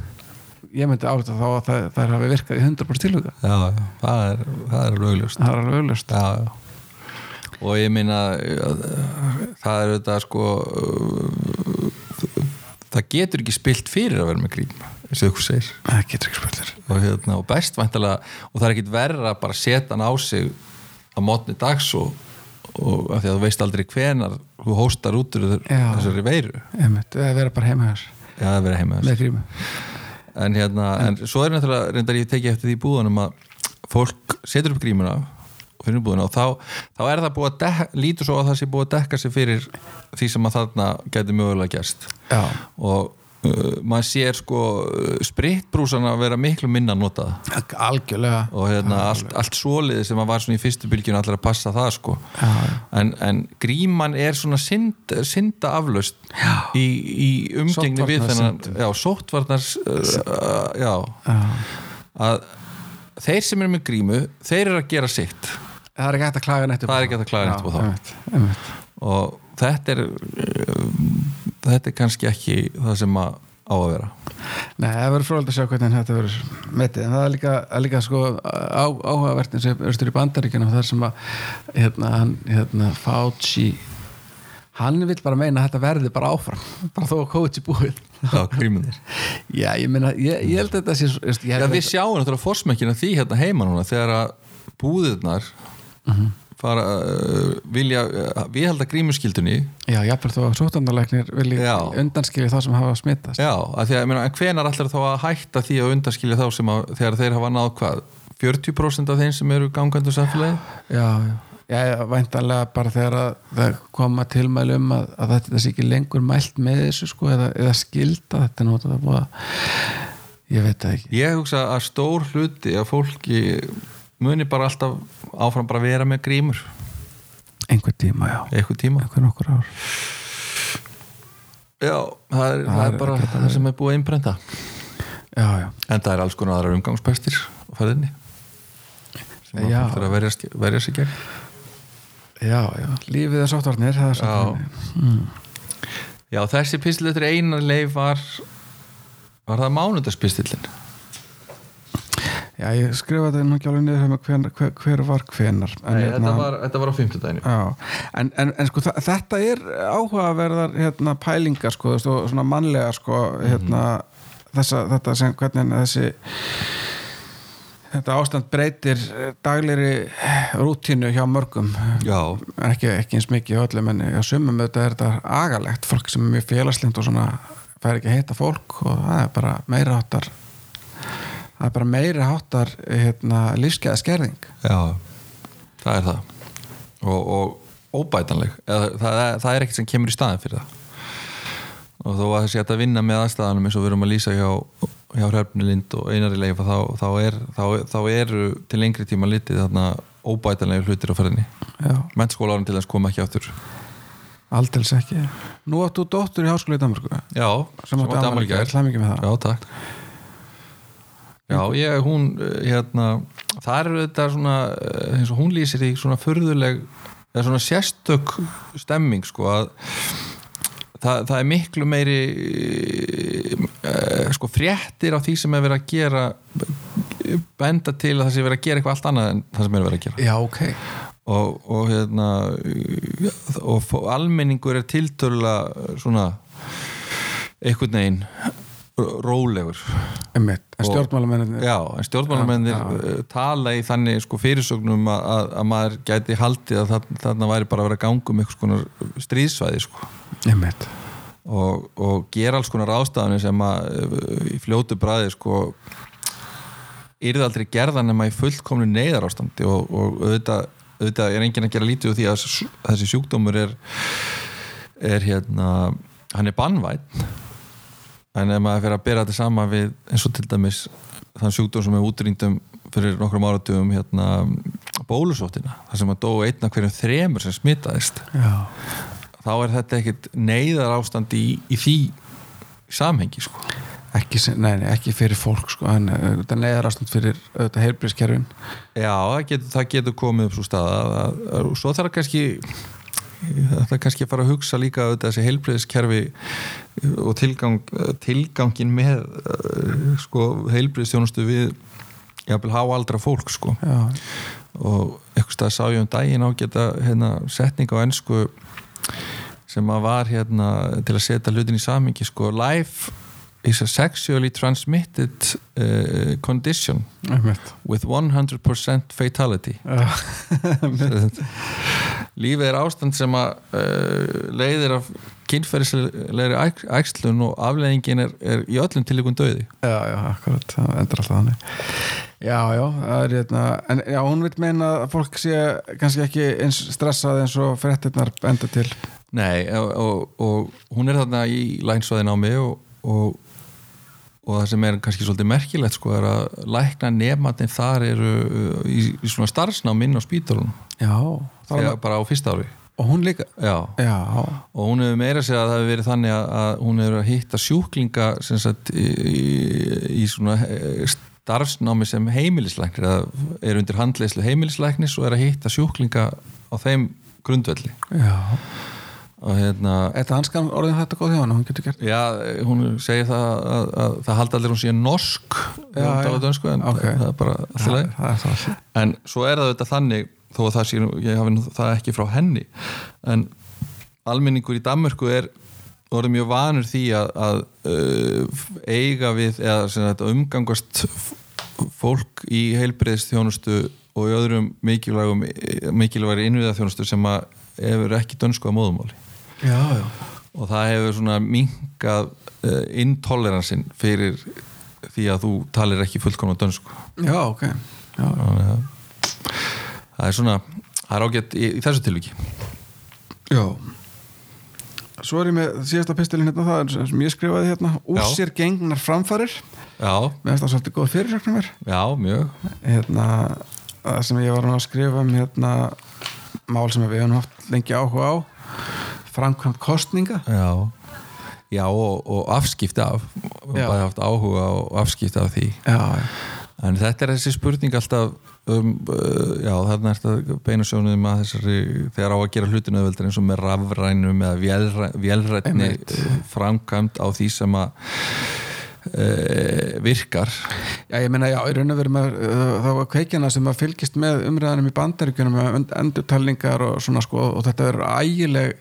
B: ég myndi álita þá að það, það hafi virkað í 100% tilhuga
C: já, já, það er, það er lögljúst
B: það er alveg auðlust
C: já, já. og ég meina uh, það er þetta sko uh, það getur ekki spilt fyrir að vera með grím eins og ykkur segir
B: það getur ekki spöldur
C: og, hérna, og best væntalega og það er ekkit verra að bara setja hann á sig að mótni dags og, og af því að þú veist aldrei hvenar þú hóstar út úr þur-
B: Já.
C: þessari veiru
B: eða vera bara heima hér
C: já, það er verið heima
B: með grímu
C: en hérna, en, svo er náttúrulega reyndar ég tekið eftir því í búðunum að fólk setur upp grímuna og finnur búðuna og þá, þá er það búið að dekka, lítur svo að það sé búið að dekka sig fyrir því sem að þarna gæti mögulega gerst
B: já,
C: og uh, maður sér sko uh, spritbrúsana að vera miklu minna notaða
B: algjörlega
C: og hérna allt, allt svoleiði sem að var svona í fyrstu bylgjun allar að passa það sko
B: Já, já.
C: en, en gríman er svona synd, synda aflaust í, í umgengni við þennan
B: Sóttvarnasynd.
C: já, sóttvarnar uh, já, að þeir sem eru með grímu þeir eru að gera sitt
B: það er ekki hægt að klaga nættu
C: Það er ekki hægt að klaga neitt upp á það.
B: einmitt.
C: og þetta er uh, þetta er kannski ekki það sem að á að vera
B: Nei, það verður frólægt að sjá hvernig þetta verður metið, en það er líka, er líka sko, á, áhugavert eins og austur í bandaríkjunum þar sem að hérna, hann, hérna, Fauci hann vil bara meina að þetta verði bara áfram, bara þó að kóti búið
C: já, grímunir
B: Já, ég meina, ég, ég held að þetta sé svo- ég
C: Já,
B: held að
C: við sjáum náttúrulega forsmekkina því hérna heima núna þegar að búðirnar fara, uh, vilja uh, viðhalda grímuskildunni
B: Já, jafnvel þó að sóttandarleiknir vilja
C: Já.
B: undanskilja þá sem hafa smittast
C: já, að því að, ég meina, en hvenar allir þá að hætta því að undanskilja þá sem að þegar þeir hafa náð hvað 40% af þeim sem eru gangandu samfélagi
B: já, já. Já, væntanlega bara þegar að það koma tilmæli um að, að þetta þetta sé ekki lengur mælt með þessu sko eða, eða skilda þetta er nota það búið að ég veit það ekki
C: ég hugsa að stór hluti að fólki muni bara alltaf áfram bara vera með grímur
B: einhver tíma já,
C: eitthvað tíma
B: einhver nokkur ár
C: já, það er, það er bara það sem er búið að innbrenda
B: já, já,
C: en það er alls konar aðrar umgangspestir á ferðinni sem að
B: Já.
C: fólk þarf að verja, verja sig gegn
B: já, já lífið er sóttvarnir það er
C: já,
B: sóttvarnir
C: já þessi pistill eftir einar leif var var það mánudagspistillin
B: já, ég skrifa þetta nú ekki alveg niður hjá mér hver, hver, hver var hvenar en, hérna-
C: þetta, var- þetta var á fimmtudaginu
B: Já, en, en, en sko þa- þetta er áhugaverðar hérna, pælingar sko, þú veist, og svona mannlega sko, hérna, þessa, þetta sem hvernig þessi þetta ástand breytir eh, daglegri rútínu hjá mörgum
C: já,
B: ekki, ekki eins mikið hjá öllum en á sumum auðvitað er þetta agalegt fólk sem er mjög félagslind og svona fær ekki að heita fólk og það er bara meira háttar það er bara meira háttar hérna, lífskeiða skerðing
C: já það er það og, og óbætanleg Eða, það, það, það er ekkert sem kemur í staðin fyrir það og þó að þessi hægt að vinna með aðstæðanum eins og við erum að lýsa hjá, hjá Hrefni Lind og Einari Leifa þá, þá, er, þá, þá eru til lengri tíma litið þarna óbætanlega hlutir á ferðinni
B: já,
C: mennskóla árum til þess koma ekki aftur
B: aldels ekki nú áttu dóttur í háskóla í Danmarku
C: já,
B: sem áttu afmæli í gær, til hamingju með það.
C: já, takk já, ég, hún eh, hérna, það eru þetta svona eh, eins og hún lýsir í svona furðuleg eða svona sérstök stemming sko að það, það er miklu meiri uh, sko fréttir á því sem er verið að gera eh, benda til að það sé verið að gera eitthvað allt annað en það sem er verið að gera
B: já, ok
C: og, og hérna og fó- almenningur er tiltöla svona einhvern veginn ró- rólegur
B: Einmitt. en
C: Og-
B: stjórnmálamennir
C: já, en stjórnmálamennir eh, tala í þannig sko fyrirsögnum að, að, að maður gæti haldið að þarna, þarna væri bara að vera að ganga um einhvers konar stríðsvæði sko
B: einmitt
C: og, og gera alls konar ástafanir sem að eh, í fljótu bræði sko yrði aldrei gerða nema í fullkomlu neyðar ástandi og, og auðvitað, auðvitað er enginn að gera lítið úr því að s- þessi sjúkdómur er er hérna hann er bannvætt en ef maður fyrir að bera þetta sama við eins og til dæmis þann sjúkdóm sem er útrýndum fyrir nokkrum áratugum hérna bólusóttina þar sem að dóu einna hverjum þremur sem smitaðist
B: já,
C: þá er þetta ekkert neyðar ástand í, í því samhengi sko.
B: ekki, sem, nei, nei, ekki fyrir fólk sko, en uh, þetta neðar ástand fyrir þetta heilbríðskerfin
C: Já, það getur, það getur komið upp svo staða að- að- að- og svo þarf kannski það er kannski að fara að hugsa líka auðvitað þessi heilbriðiskerfi og tilgang, tilgangin með eh, sko, heilbriðistjónustu við jafnvel háaldra fólk sko.
B: já,
C: og eitthvað stað sá ég um daginn ágæta hérna, setning á ennsku sem að var hérna til að setja hlutin í samingi sko, life is a sexually transmitted uh, condition
B: einmitt
C: with 100% fatality
B: Já.
C: lífið er ástand sem að uh, leiðir af kynferðislegri æx- æxlun og afleiðingin er, er í öllum tilíkun döði
B: já, já, akkurat, það endur alltaf þannig já, já, það er hérna en já, hún vil meina að fólk sé kannski ekki eins stressað eins og fréttirnar enda til
C: Nei, og, og, og hún er þarna í lænsvæðin á mig og, og, og það sem er kannski svolítið merkilegt sko er að lækna nefnatinn þar eru uh, í, í svona starfsnámi inn á spítalunum
B: já,
C: þegar bara á fyrsta ári
B: og hún líka
C: Já,
B: já,
C: og hún hefur meira að segja að það hefur verið þannig að, að hún hefur að hitta sjúklinga sem sagt í, í- í svona eh, starfsnámi sem heimilislæknir eða er undir handleyslu heimilislæknis og er að hitta sjúklinga á þeim grundvelli
B: já
C: og hérna
B: Þetta hanskan orðin þetta góð hjá hann, hún getur gert
C: Já, hún segir það að, að, það halda allir hún síðan norsk
B: Já,
C: þegar hún talar
B: já.
C: dönsku, en
B: Ok.
C: það er bara allt í lagi.
B: Það er það
C: En svo er það auðvitað þannig þó að það sé, nú- ég hafi nú það ekki frá henni en almenningur í Danmörku er orðið mjög vanur því að, að uh, eiga við eða sem þetta umgangast f- fólk í heilbreyðstjónustu og í öðrum mikilvægum mikilvægri innviðaþjónustu sem að hefur ekki dönsku að móðumáli
B: Já, já,
C: og það hefur svona minkað uh, intoleransinn fyrir því að þú talir ekki fullkomna dönsku
B: já, ok já.
C: þannig að það er svona það er ágætt í, í þessu tilviki
B: já Svo er ég með síðasta pistilin hérna það er sem- sem ég skrifaði hérna Úr
C: Já.
B: sér gengnar framfarir
C: já,
B: Mér finnst það svolítið góð fyrirsögnum er
C: já, mjög
B: hérna, það sem ég var nú að skrifa um hérna, mál sem við höfum haft lengi áhuga á framkvæmt kostninga
C: já, já og, og afskipti af við
B: Já.
C: höfum bæði haft áhuga og afskipti af því
B: já,
C: en þetta er þessi spurning alltaf um, uh, já, þarna er þetta beina sjónuðum að þessari, þegar á að gera hlutinu auðveldur eins og með rafrænum eða vélræ, vélrænni
B: Einmitt.
C: eh, framkvæmt á því sem að uh, virkar
B: já ég meina já, í raun og veru með uh, þá var kveikjana sem að fylgist með umræðanum í bandaríkjunum með und- endurtalningar og svona sko og þetta verður ægileg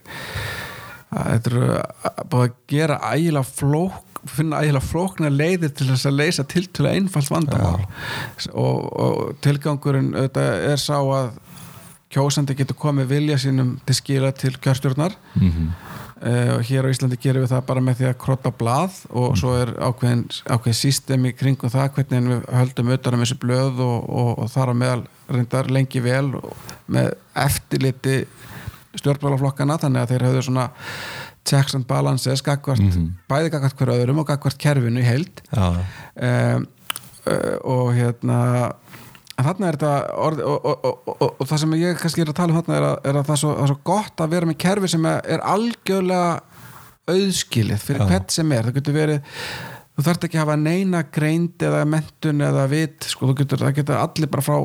B: að þetta eru uh, búið að gera ægilega flók finna ægilega flókna leiðir til þess að leysa tiltölu einfalt vandamál og, og tilgangurinn auðvitað er sá að kjósandi getur komið vilja sínum til skila til kjörstjórnar Eh, og hér á Íslandi gerum við það bara með því að krotta blað og svo er ákveðin, ákveðin system í kringum það hvernig við höldum utan um þessu blöð og, og, og þar á meðal reyndar lengi vel og með eftirliti stjórnmálaflokkana þannig að þeir höfðu svona checks and balances gagvart, bæði gagvart hver öðrum og gagvart kerfinu í heild
C: Já.
B: um, uh, og hérna en þarna er þetta orð, og, og, og, og, og það sem ég kannski er að tala um þarna er að, er að það, er svo, það er svo gott að vera með kerfi sem er algjörlega auðskilið fyrir
C: Já.
B: hvern sem er það getur verið þú þarft ekki að hafa neina greind eða mentun eða vit sko, þú getur, það getur allir bara frá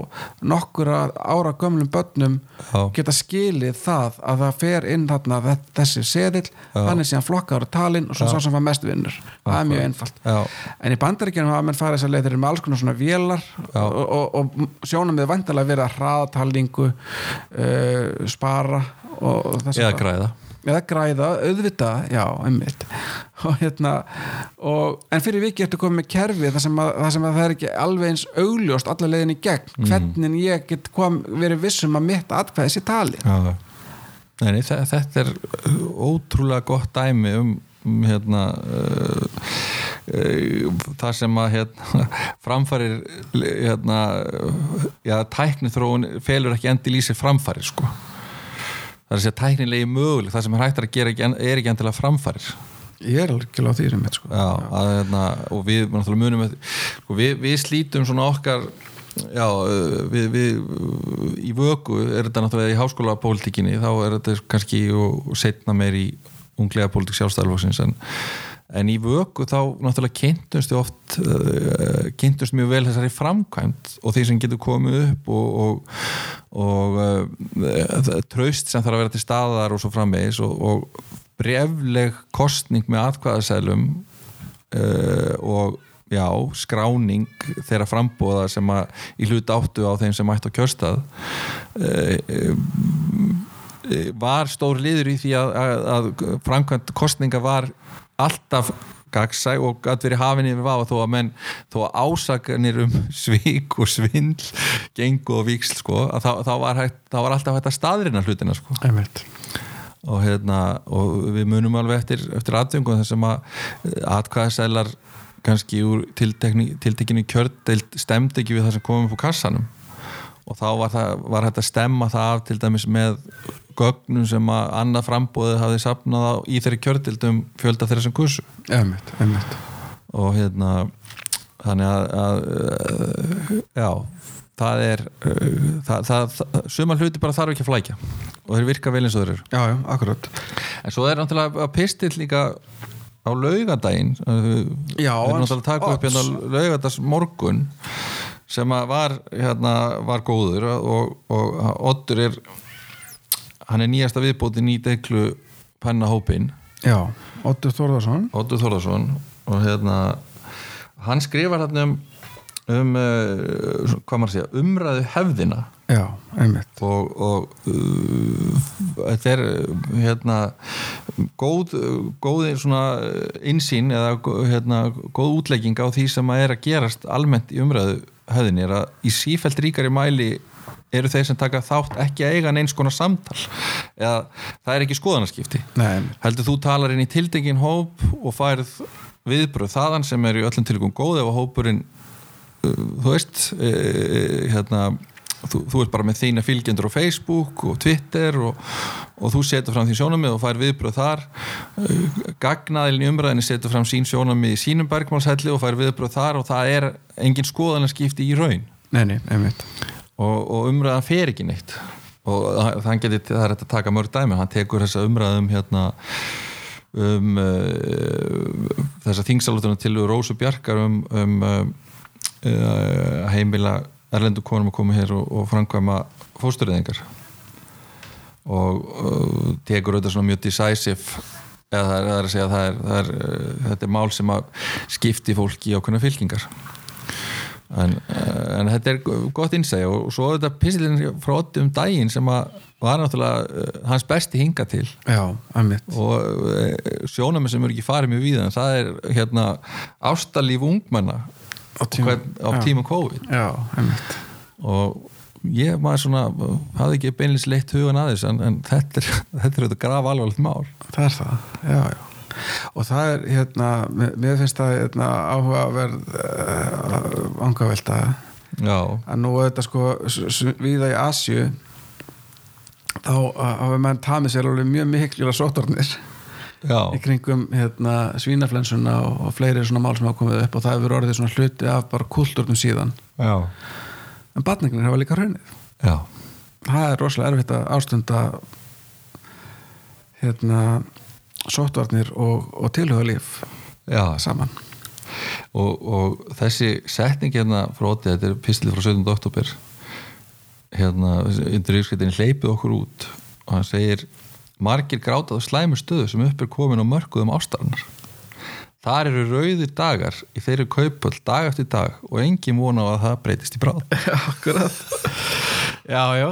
B: nokkura ára gömlum börnum
C: Já.
B: geta skilið það að það fer inn þarna þe- þessi seðill hann er síðan flokkaður og talinn og svo sá sem var mest vinnur það er mjög einfalt
C: Já.
B: en í bandaríkjunum hafa menn farið þess að leiðir með alls konar svona vélar og, og, og sjónum við vantilega verið að hraðatalningu uh, spara og og þess
C: Eða
B: háttar.
C: græða.
B: eða græða, auðvitað, já, einmitt og hérna og, en fyrir vikið ertu komið með kerfi þar sem, að, þar sem að það er ekki alveg eins augljóst allar leiðin í gegn,
C: Mm.
B: hvernig ég get kom, verið vissum að mitt atkvæði sé talið
C: Já. Nei, nei, þe- þetta er ótrúlega gott dæmi um, um hérna uh, uh, það sem að hérna, framfarir hérna, já, tækniþróun felur ekki endi lýsi framfarir sko það er að segja tæknilegi möguleg það sem er hægt að gera ekki, en- er ekki endilega framfarir
B: ég er alveg á því sem mitt sko
C: já, að, hérna, og við náttúrulega munum eftir- sko, við, við slítum svona okkar já, uh, við, við uh, í vöku er þetta náttúrulega í háskóla pólitíkinni, þá er þetta kannski og setna meir í unglega pólitík sjálfstæðalvaksins en, en í vöku þá náttúrulega kynntumst við oft uh, kynntumst mjög vel þessari framkvæmt og því sem getur komið upp og, og, og uh, traust sem þarf að vera til staðar og svo framvegis og, og brefleg kostning með atkvæðasælum uh, og já, skráning þeirra frambúða sem að í hlut áttu á þeim sem mættu á kjörstað uh, eh, var stór liður í því að, að, að framkvæmt kostninga var alltaf gagsæ og gætt verið hafinn yfir vafa þó að menn, þó að ásakanir um svík og svindl gengu og víksl sko, að þá, þá, var hægt, þá var alltaf hægt að staðrina hlutina sko
B: einmitt
C: og, hérna, og við munum alveg eftir, eftir atvöngum þessum að atkvæðasælar kannski úr tiltekni- tiltekinu kjördeild stemdi ekki við það sem komum upp á kassanum og þá var, það, var hægt að stemma það af til dæmis með gögnum sem að annað frambóðið hafði safnað á, í þeirri kjördildum fjölda þeirra sem kursu
B: einmitt, einmitt
C: og hérna þannig að, að uh, já, það er uh, það, það, það, suma hluti bara þarf ekki að flækja og þeir virka vel eins og þeir eru
B: já, já, akkurat
C: En svo er náttúrulega að pistill líka á laugardaginn
B: Já,
C: Það er
B: hans-
C: náttúrulega að taka upp
B: odds.
C: hérna laugardags morgun sem að var, hérna, var góður og, og Oddur er hann er nýjasta viðbótin í deglu pennahópin
B: já, Oddur Þórðarsson
C: Oddur Þórðarsson og hérna hann skrifar hérna um, um uh, hvað maður að segja, umræðu hefðina
B: já, einmitt
C: og, og uh, þetta er uh, hérna góð, góð svona uh, innsýn eða gó- hérna, góð útlegging á því sem að er að gerast almennt í umræðu höfðinni er að í sífælt ríkari mæli eru þeir sem taka þátt ekki að eiga neins konar samtal eða það er ekki skoðanaskipti
B: Nei, einmitt.
C: heldur þú talar inn í tildingin hóp og færð viðbröð þaðan sem er í öllum tilgum góð ef að hópurinn uh, þú veist uh, hérna þú, þú ert bara með þína fylgjendur á Facebook og Twitter og, og þú setur fram því sjónamið og fær viðbröð þar Uh, gagnaðilin í umræðinni setur fram sín sjónamið í sínum bergmálshelli og fær viðbröð þar og það er engin skoðanaskipti í raun
B: nei, nei, einmitt
C: og, og umræðan fer ekki neitt og hann- hann getur, það er hægt að taka mörg dæmi hann tekur þessa umræðum hérna um uh, þessa þingsalutuna til Rósu Bjarkar um, um uh, uh, heimila erlendu konum að koma hér og, og framkvæma fóstureyðingar og uh, tekur auðvitað svona mjög decisive eða það er, það er að segja það er, það er, uh, þetta er mál sem að skipti fólki í ákveðna fylkingar en, uh, en þetta er gott innsæg og svo er þetta pisilinn frá Oddi um daginn sem að var náttúrulega uh, hans besti hinga til
B: já, einmitt
C: og uh, sjónamenn sem eru ekki farið mjög víðan það er hérna ástalíf ungmenna
B: Á tímum-
C: hvern, á
B: já.
C: tíma COVID
B: já, einmitt
C: og ég maður svona hafði ekki beinlis leitt hugan aðeins en, en þetta er þetta er þetta graf alvarlegt mál
B: það er það, já, já og það er hérna, mér- mér finnst það hérna, áhugaverð uh, angavelta
C: já,
B: að nú er þetta sko s- s- víða í Asju þá uh, hafa menn tamið sér alveg mjög mikilvæg sóttornir í
C: já,
B: kringum hérna, svínaflensuna og, og fleiri svona mál sem hafa komið upp og það hefur orðið svona hluti af bara kultúrnum síðan
C: já,
B: en batningnir hafa líka hrunnið
C: já
B: það er rosalega erfitt að ástunda hérna sóttvarnir og, og tilhugalíf
C: Já,
B: saman
C: og, og þessi setning hérna frá Óti, þetta er pislið frá 17. oktober hérna, undir yfirskritin hleypið okkur út og hann segir margir grátað á slæmu stöðu sem upp er komin á mörkuðum ástarnar Þar eru rauðir dagar í þeirri kaupöld dag eftir dag og engin vona á að það breytist í bráð
B: Akkurat Já, já, já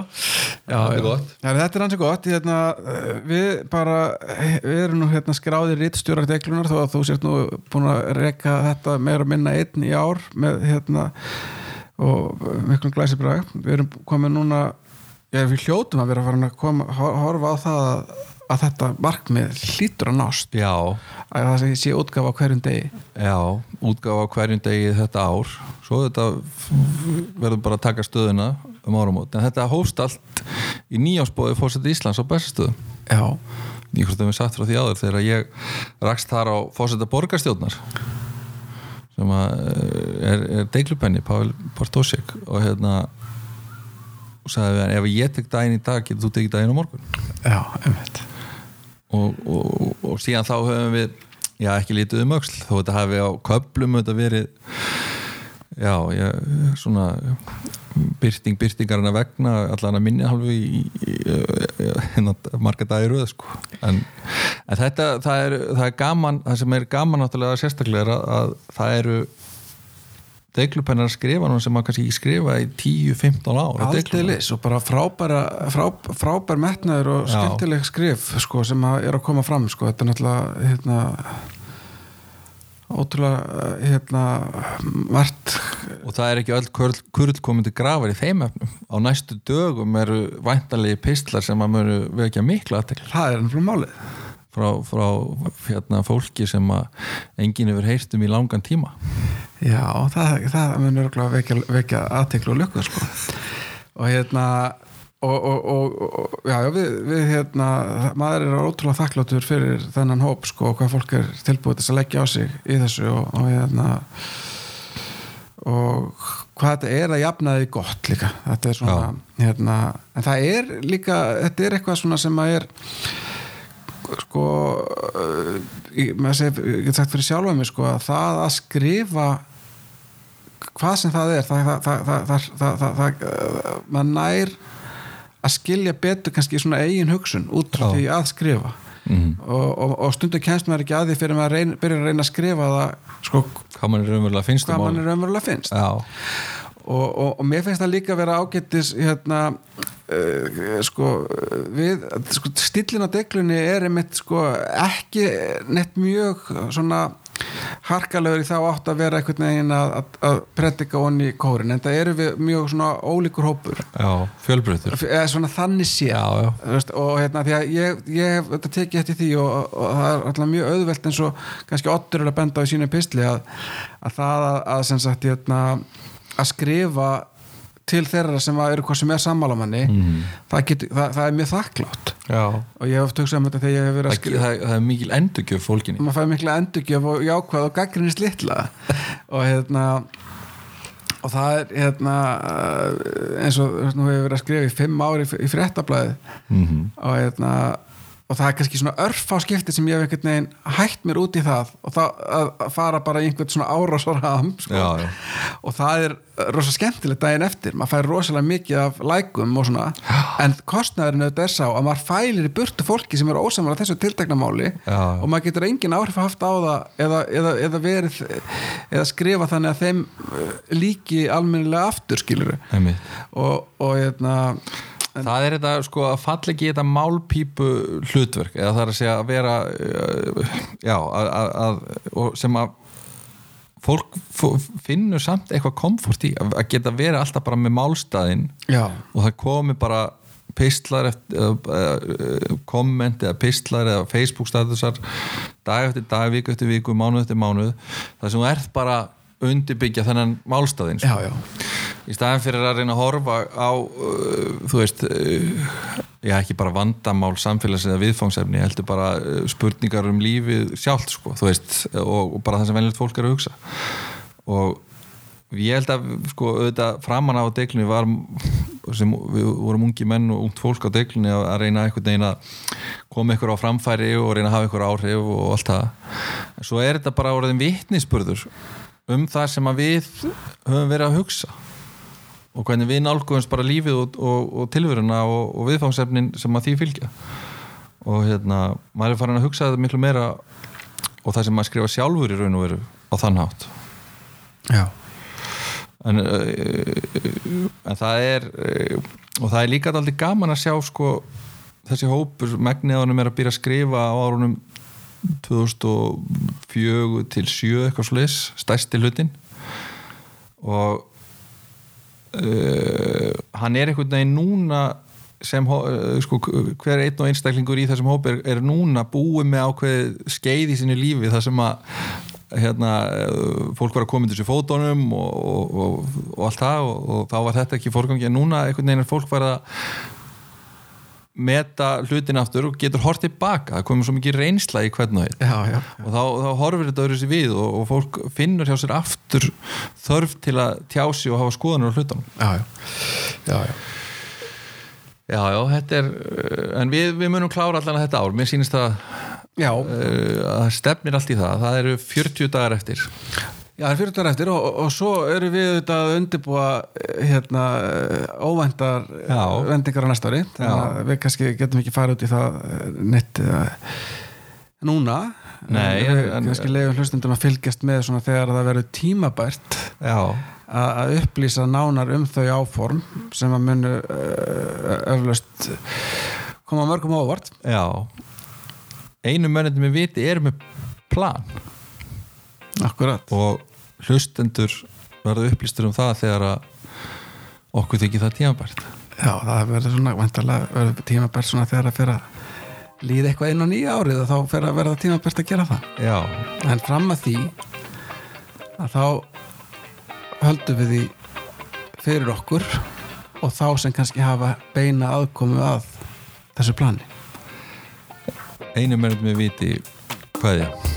C: Þetta er
B: já.
C: gott.
B: Já, Þetta er hans gott hérna, eh, Við bara, eh, við erum nú hérna skráðir rittstjórar deglunar þó að þú sért nú búin að reka þetta meira að minna einn í ár með hérna og eh, miklum glæsibrag Við erum komin núna Já, við hljótum að vera farin að koma, hor- horfa á það að, að þetta markmið hlýtur að nást
C: Já,
B: að það sé- sé útgafa á hverjum degi
C: já, útgáfa á hverjum degi þetta ár svo þetta f- verður bara að taka stöðuna um áramót en þetta hófst allt í nýjánsbóði fórseti Íslands á bestastöðu
B: Já,
C: ég hvort það við sagt frá því áður þegar ég rakst þar á fósetta borgarstjórnar sem að eh, er, er deiklupenni Pavel Portosik og hérna og sagði við hann ef ég tek daginn í dag getur þú tekið daginn á morgun
B: já, einmitt
C: og, og, og, og síðan þá höfum við já ekki lítið um öxl þó þetta hafi á köplum þetta verið já, ég, svona byrting byrtingarna vegna allan að minni halvu í, í, í, í marga dagir röð sko. en, en þetta það er, það er gaman, það sem er gaman náttúrulega sérstaklega er að, að það eru deglupennar að skrifa nú sem maður kannski ekki skrifa í 10-15 ára
B: Aldeilis og bara frábæra frá, frábær metnaður og
C: Já.
B: skemmtileg skrif sko, sem að er að koma fram sko. þetta er náttúrulega hérna, ótrúlega hérna, margt
C: og það er ekki öll kurl, kurl komið til grafar í þeim efnum á næstu dögum eru væntalegi pistlar sem að mörgu vekja mikla aðtekla
B: það er ennfrá málið
C: frá, frá hérna, fólki sem að enginn hefur heyrt um í langan tíma
B: Já, það, það mun örgulega vekja, vekja aðteklu og lukku sko. og hérna og, og, og, og já, já, við, við hérna maður er ótrúlega þakkláttur fyrir þennan hóp sko, og hvað fólk er tilbúið til þess að leggja á sig í þessu og, og hérna og hvað þetta er að jafna því gott líka þetta er svona, hérna en það er líka, þetta er eitthvað svona sem að er sko uh, ég, maður segi, ég get sagt fyrir sjálfa mig sko að það að skrifa hvað sem það er það, það, það, það, það, það, það, það uh, maður nær að skilja betur kannski svona eigin hugsun út frá
C: Já. Mhm.
B: því að skrifa mm. og, og, og stundu kennst maður ekki að því fyrir maður reyn, byrjar að reyna að skrifa það sko
C: hvað mann er raunverulega finnst
B: hvað
C: um
B: mann
C: málið.
B: er raunverulega finnst
C: já,
B: og, og, og mér finnst það líka að vera ágættis hérna uh, sko, eh, við, sko stillin á deglunni er einmitt sko ekki neitt mjög svona harkalegur í þá átt að vera einhvern veginn að, að, að predika onni í kórin en það eru við mjög svona ólíkur hópur
C: já, fjölbreytur
B: eða svona þannig sé
C: Já, já.
B: Þú Veist, og hérna því að ég, ég hef þetta tekið eftir því og, og, og það er alltaf mjög auðvelt eins og kannski Oddur er að benda á í sínu pistli að, að það að, að sem sagt hérna, að skrifa til þeirra sem að eru hvað sem er sammálamanni
C: Mhm.
B: mm. það, getur, það, það er mjög þakklátt
C: já
B: og ég hef oft hugsað um þetta þegar ég hef verið
C: Það,
B: að skrifa
C: það, það er mikil endurgjöf fólkinni
B: maður fæði mikla endurgjöf og jákvæð og gaggrinist litla og hérna og það er hérna eh, eins og nú hefur verið að skrifa í fimm ári í fréttablaði -hmm. og hérna og það er kannski svona örf á skipti sem ég hef einhvern veginn hætt mér út í það og það að að fara bara í einhvern svona árásvaram sko.
C: Já, já.
B: og það er rosa skemmtilegt daginn eftir maður fær rosalega mikið af lækum og svona en kostnaðurinn auðvitað er sá að maður fælir í burtu fólki sem eru ósamar þessu tilteknamáli
C: Já.
B: og og maður getur engin áhrif haft á það eða, eða, eða verið eða skrifa þannig að þeim eh, líki almennilega aftur skilur
C: Einmitt.
B: og, og hérna
C: það er þetta sko að falla ekki í þetta málpípu hlutverk eða það er að segja að vera uh, já, að, að, að og sem að fólk f- finnur samt eitthvað komfort í að að geta verið alltaf bara með málstæðin
B: já,
C: og það komi bara pistlar eftir, uh, komment eða pistlar eða Facebook statusar dag eftir dag, viku eftir viku, mánuð eftir mánuð þar sem þú ert bara að undirbyggja þennan sko. málstæðin
B: já, já
C: í staðan fyrir að reyna að horfa á uh, þú veist uh, já, ekki bara vandamál samfélags eða viðfangsefni, heldur bara eh, spurningar um lífið sjálft sko, þú veist, og, og bara það sem venjulegt fólk er að hugsa og ég held að sko, auðvitað, framan á deglunni var sem við vorum ungi menn og ungt fólk á deglunni að að reyna einhvern veginn að koma ykkur á framfæri og reyna að hafa ykkur áhrif og allt það en svo er þetta bara orðin vitnisspurður um það sem að við höfum verið að hugsa og hvernig við nálguðumst bara lífið og, og, og tilveruna og, og viðfangsefnin sem að því fylgja og hérna, maður er farin að hugsa þetta miklu meira og það sem maður skrifa sjálfur í raun og veru á þann hátt
B: já,
C: en, uh, en það er uh, og það er líka alltaf gaman að sjá sko, þessi hópur megnið á honum er að byrja að skrifa á árunum 2004 til 7 eitthvað slis, stærsti hlutin og uh, hann er einhvern veginn núna sem hó- eh, sko, hver einn og einstaklingur í þessum hóp er, er núna búið með ákveð skeið í sinni lífi þar sem að hérna, eh, fólk var að koma til þessu fótónum og, og, og, og allt það og, og þá var þetta ekki í forgangi en núna einhvern veginn er fólk var að meta hlutin aftur og getur hort tilbaka, það komið svo mikið reynsla í hvern og einn
B: já, já,
C: og þá, þá horfir þetta öðru sér við og, og fólk finnur hjá sér aftur þörf til að tjá sig og hafa skoðanur á hlutunum
B: já, já, já, já.
C: Já, já, þetta er uh, en við, við munum klára allan þetta ár mér sýnist að,
B: Já,
C: uh, að það stefnir allt í það, það eru 40 dagar eftir
B: já, það er 40 dagar eftir og, og, og svo eru við þetta að undirbúa eh, hérna, eh, óvæntar eh,
C: Já.
B: vendingar á næsta ári þannig
C: Já.
B: að við kannski getum ekki farið út í það eh, neitt eh, núna en,
C: Nei,
B: við
C: en-
B: kannski leiðum hlustundum að fylgjast með svona þegar það verður tímabært
C: Já,
B: að að upplýsa nánar um þau áform sem að munu uh, öflust koma mörgum á óvart
C: já einu mönnendum við viti er með plan
B: Akkurat
C: og hlustendur verða upplýstur um það þegar að okkur þykir það tímabært
B: Já, það verður svona, vantarlega verður tímabært svona þegar að fyrir að líða eitthvað inn á nýja árið og þá fyrir að verða tímabært að gera það
C: Já,
B: en fram að því að þá höldum við því fyrir okkur og þá sem kannski hafa beina aðkomu að þessu plani
C: einu mönnendum við viti hvað er það?